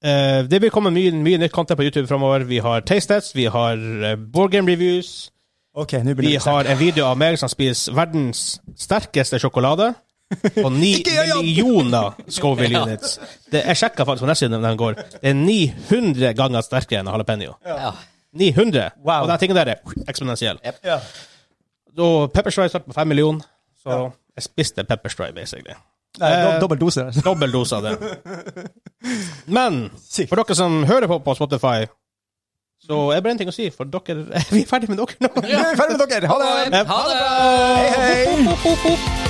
Eh, det vil komme mye, mye nytt content på YouTube framover. Vi har taste tests, vi har eh, board game reviews. Ok, nå Vi blir det har en video av meg som spiser verdens sterkeste sjokolade. På ni Ikke gjør jobb! millioner Scoville Ja. units. Det, jeg sjekka faktisk på nettsiden om den går. Det er 900 ganger sterkere enn jalapeño. Ja. 900! Wow. Og den tingen der er eksponentiell. ja. Og pepperstry starter på 5 millioner, så jeg spiste pepperstry, basically. Nei, Eh, do dobbel dose. altså. Dobbel dose av det. Men Sykt. for dere som hører på på Spotify, så er det bare én ting å si, for dere Vi er ferdig med dere nå. Nå er vi ferdig med dere! Ha det! Ha det! Hei, hei! Hei.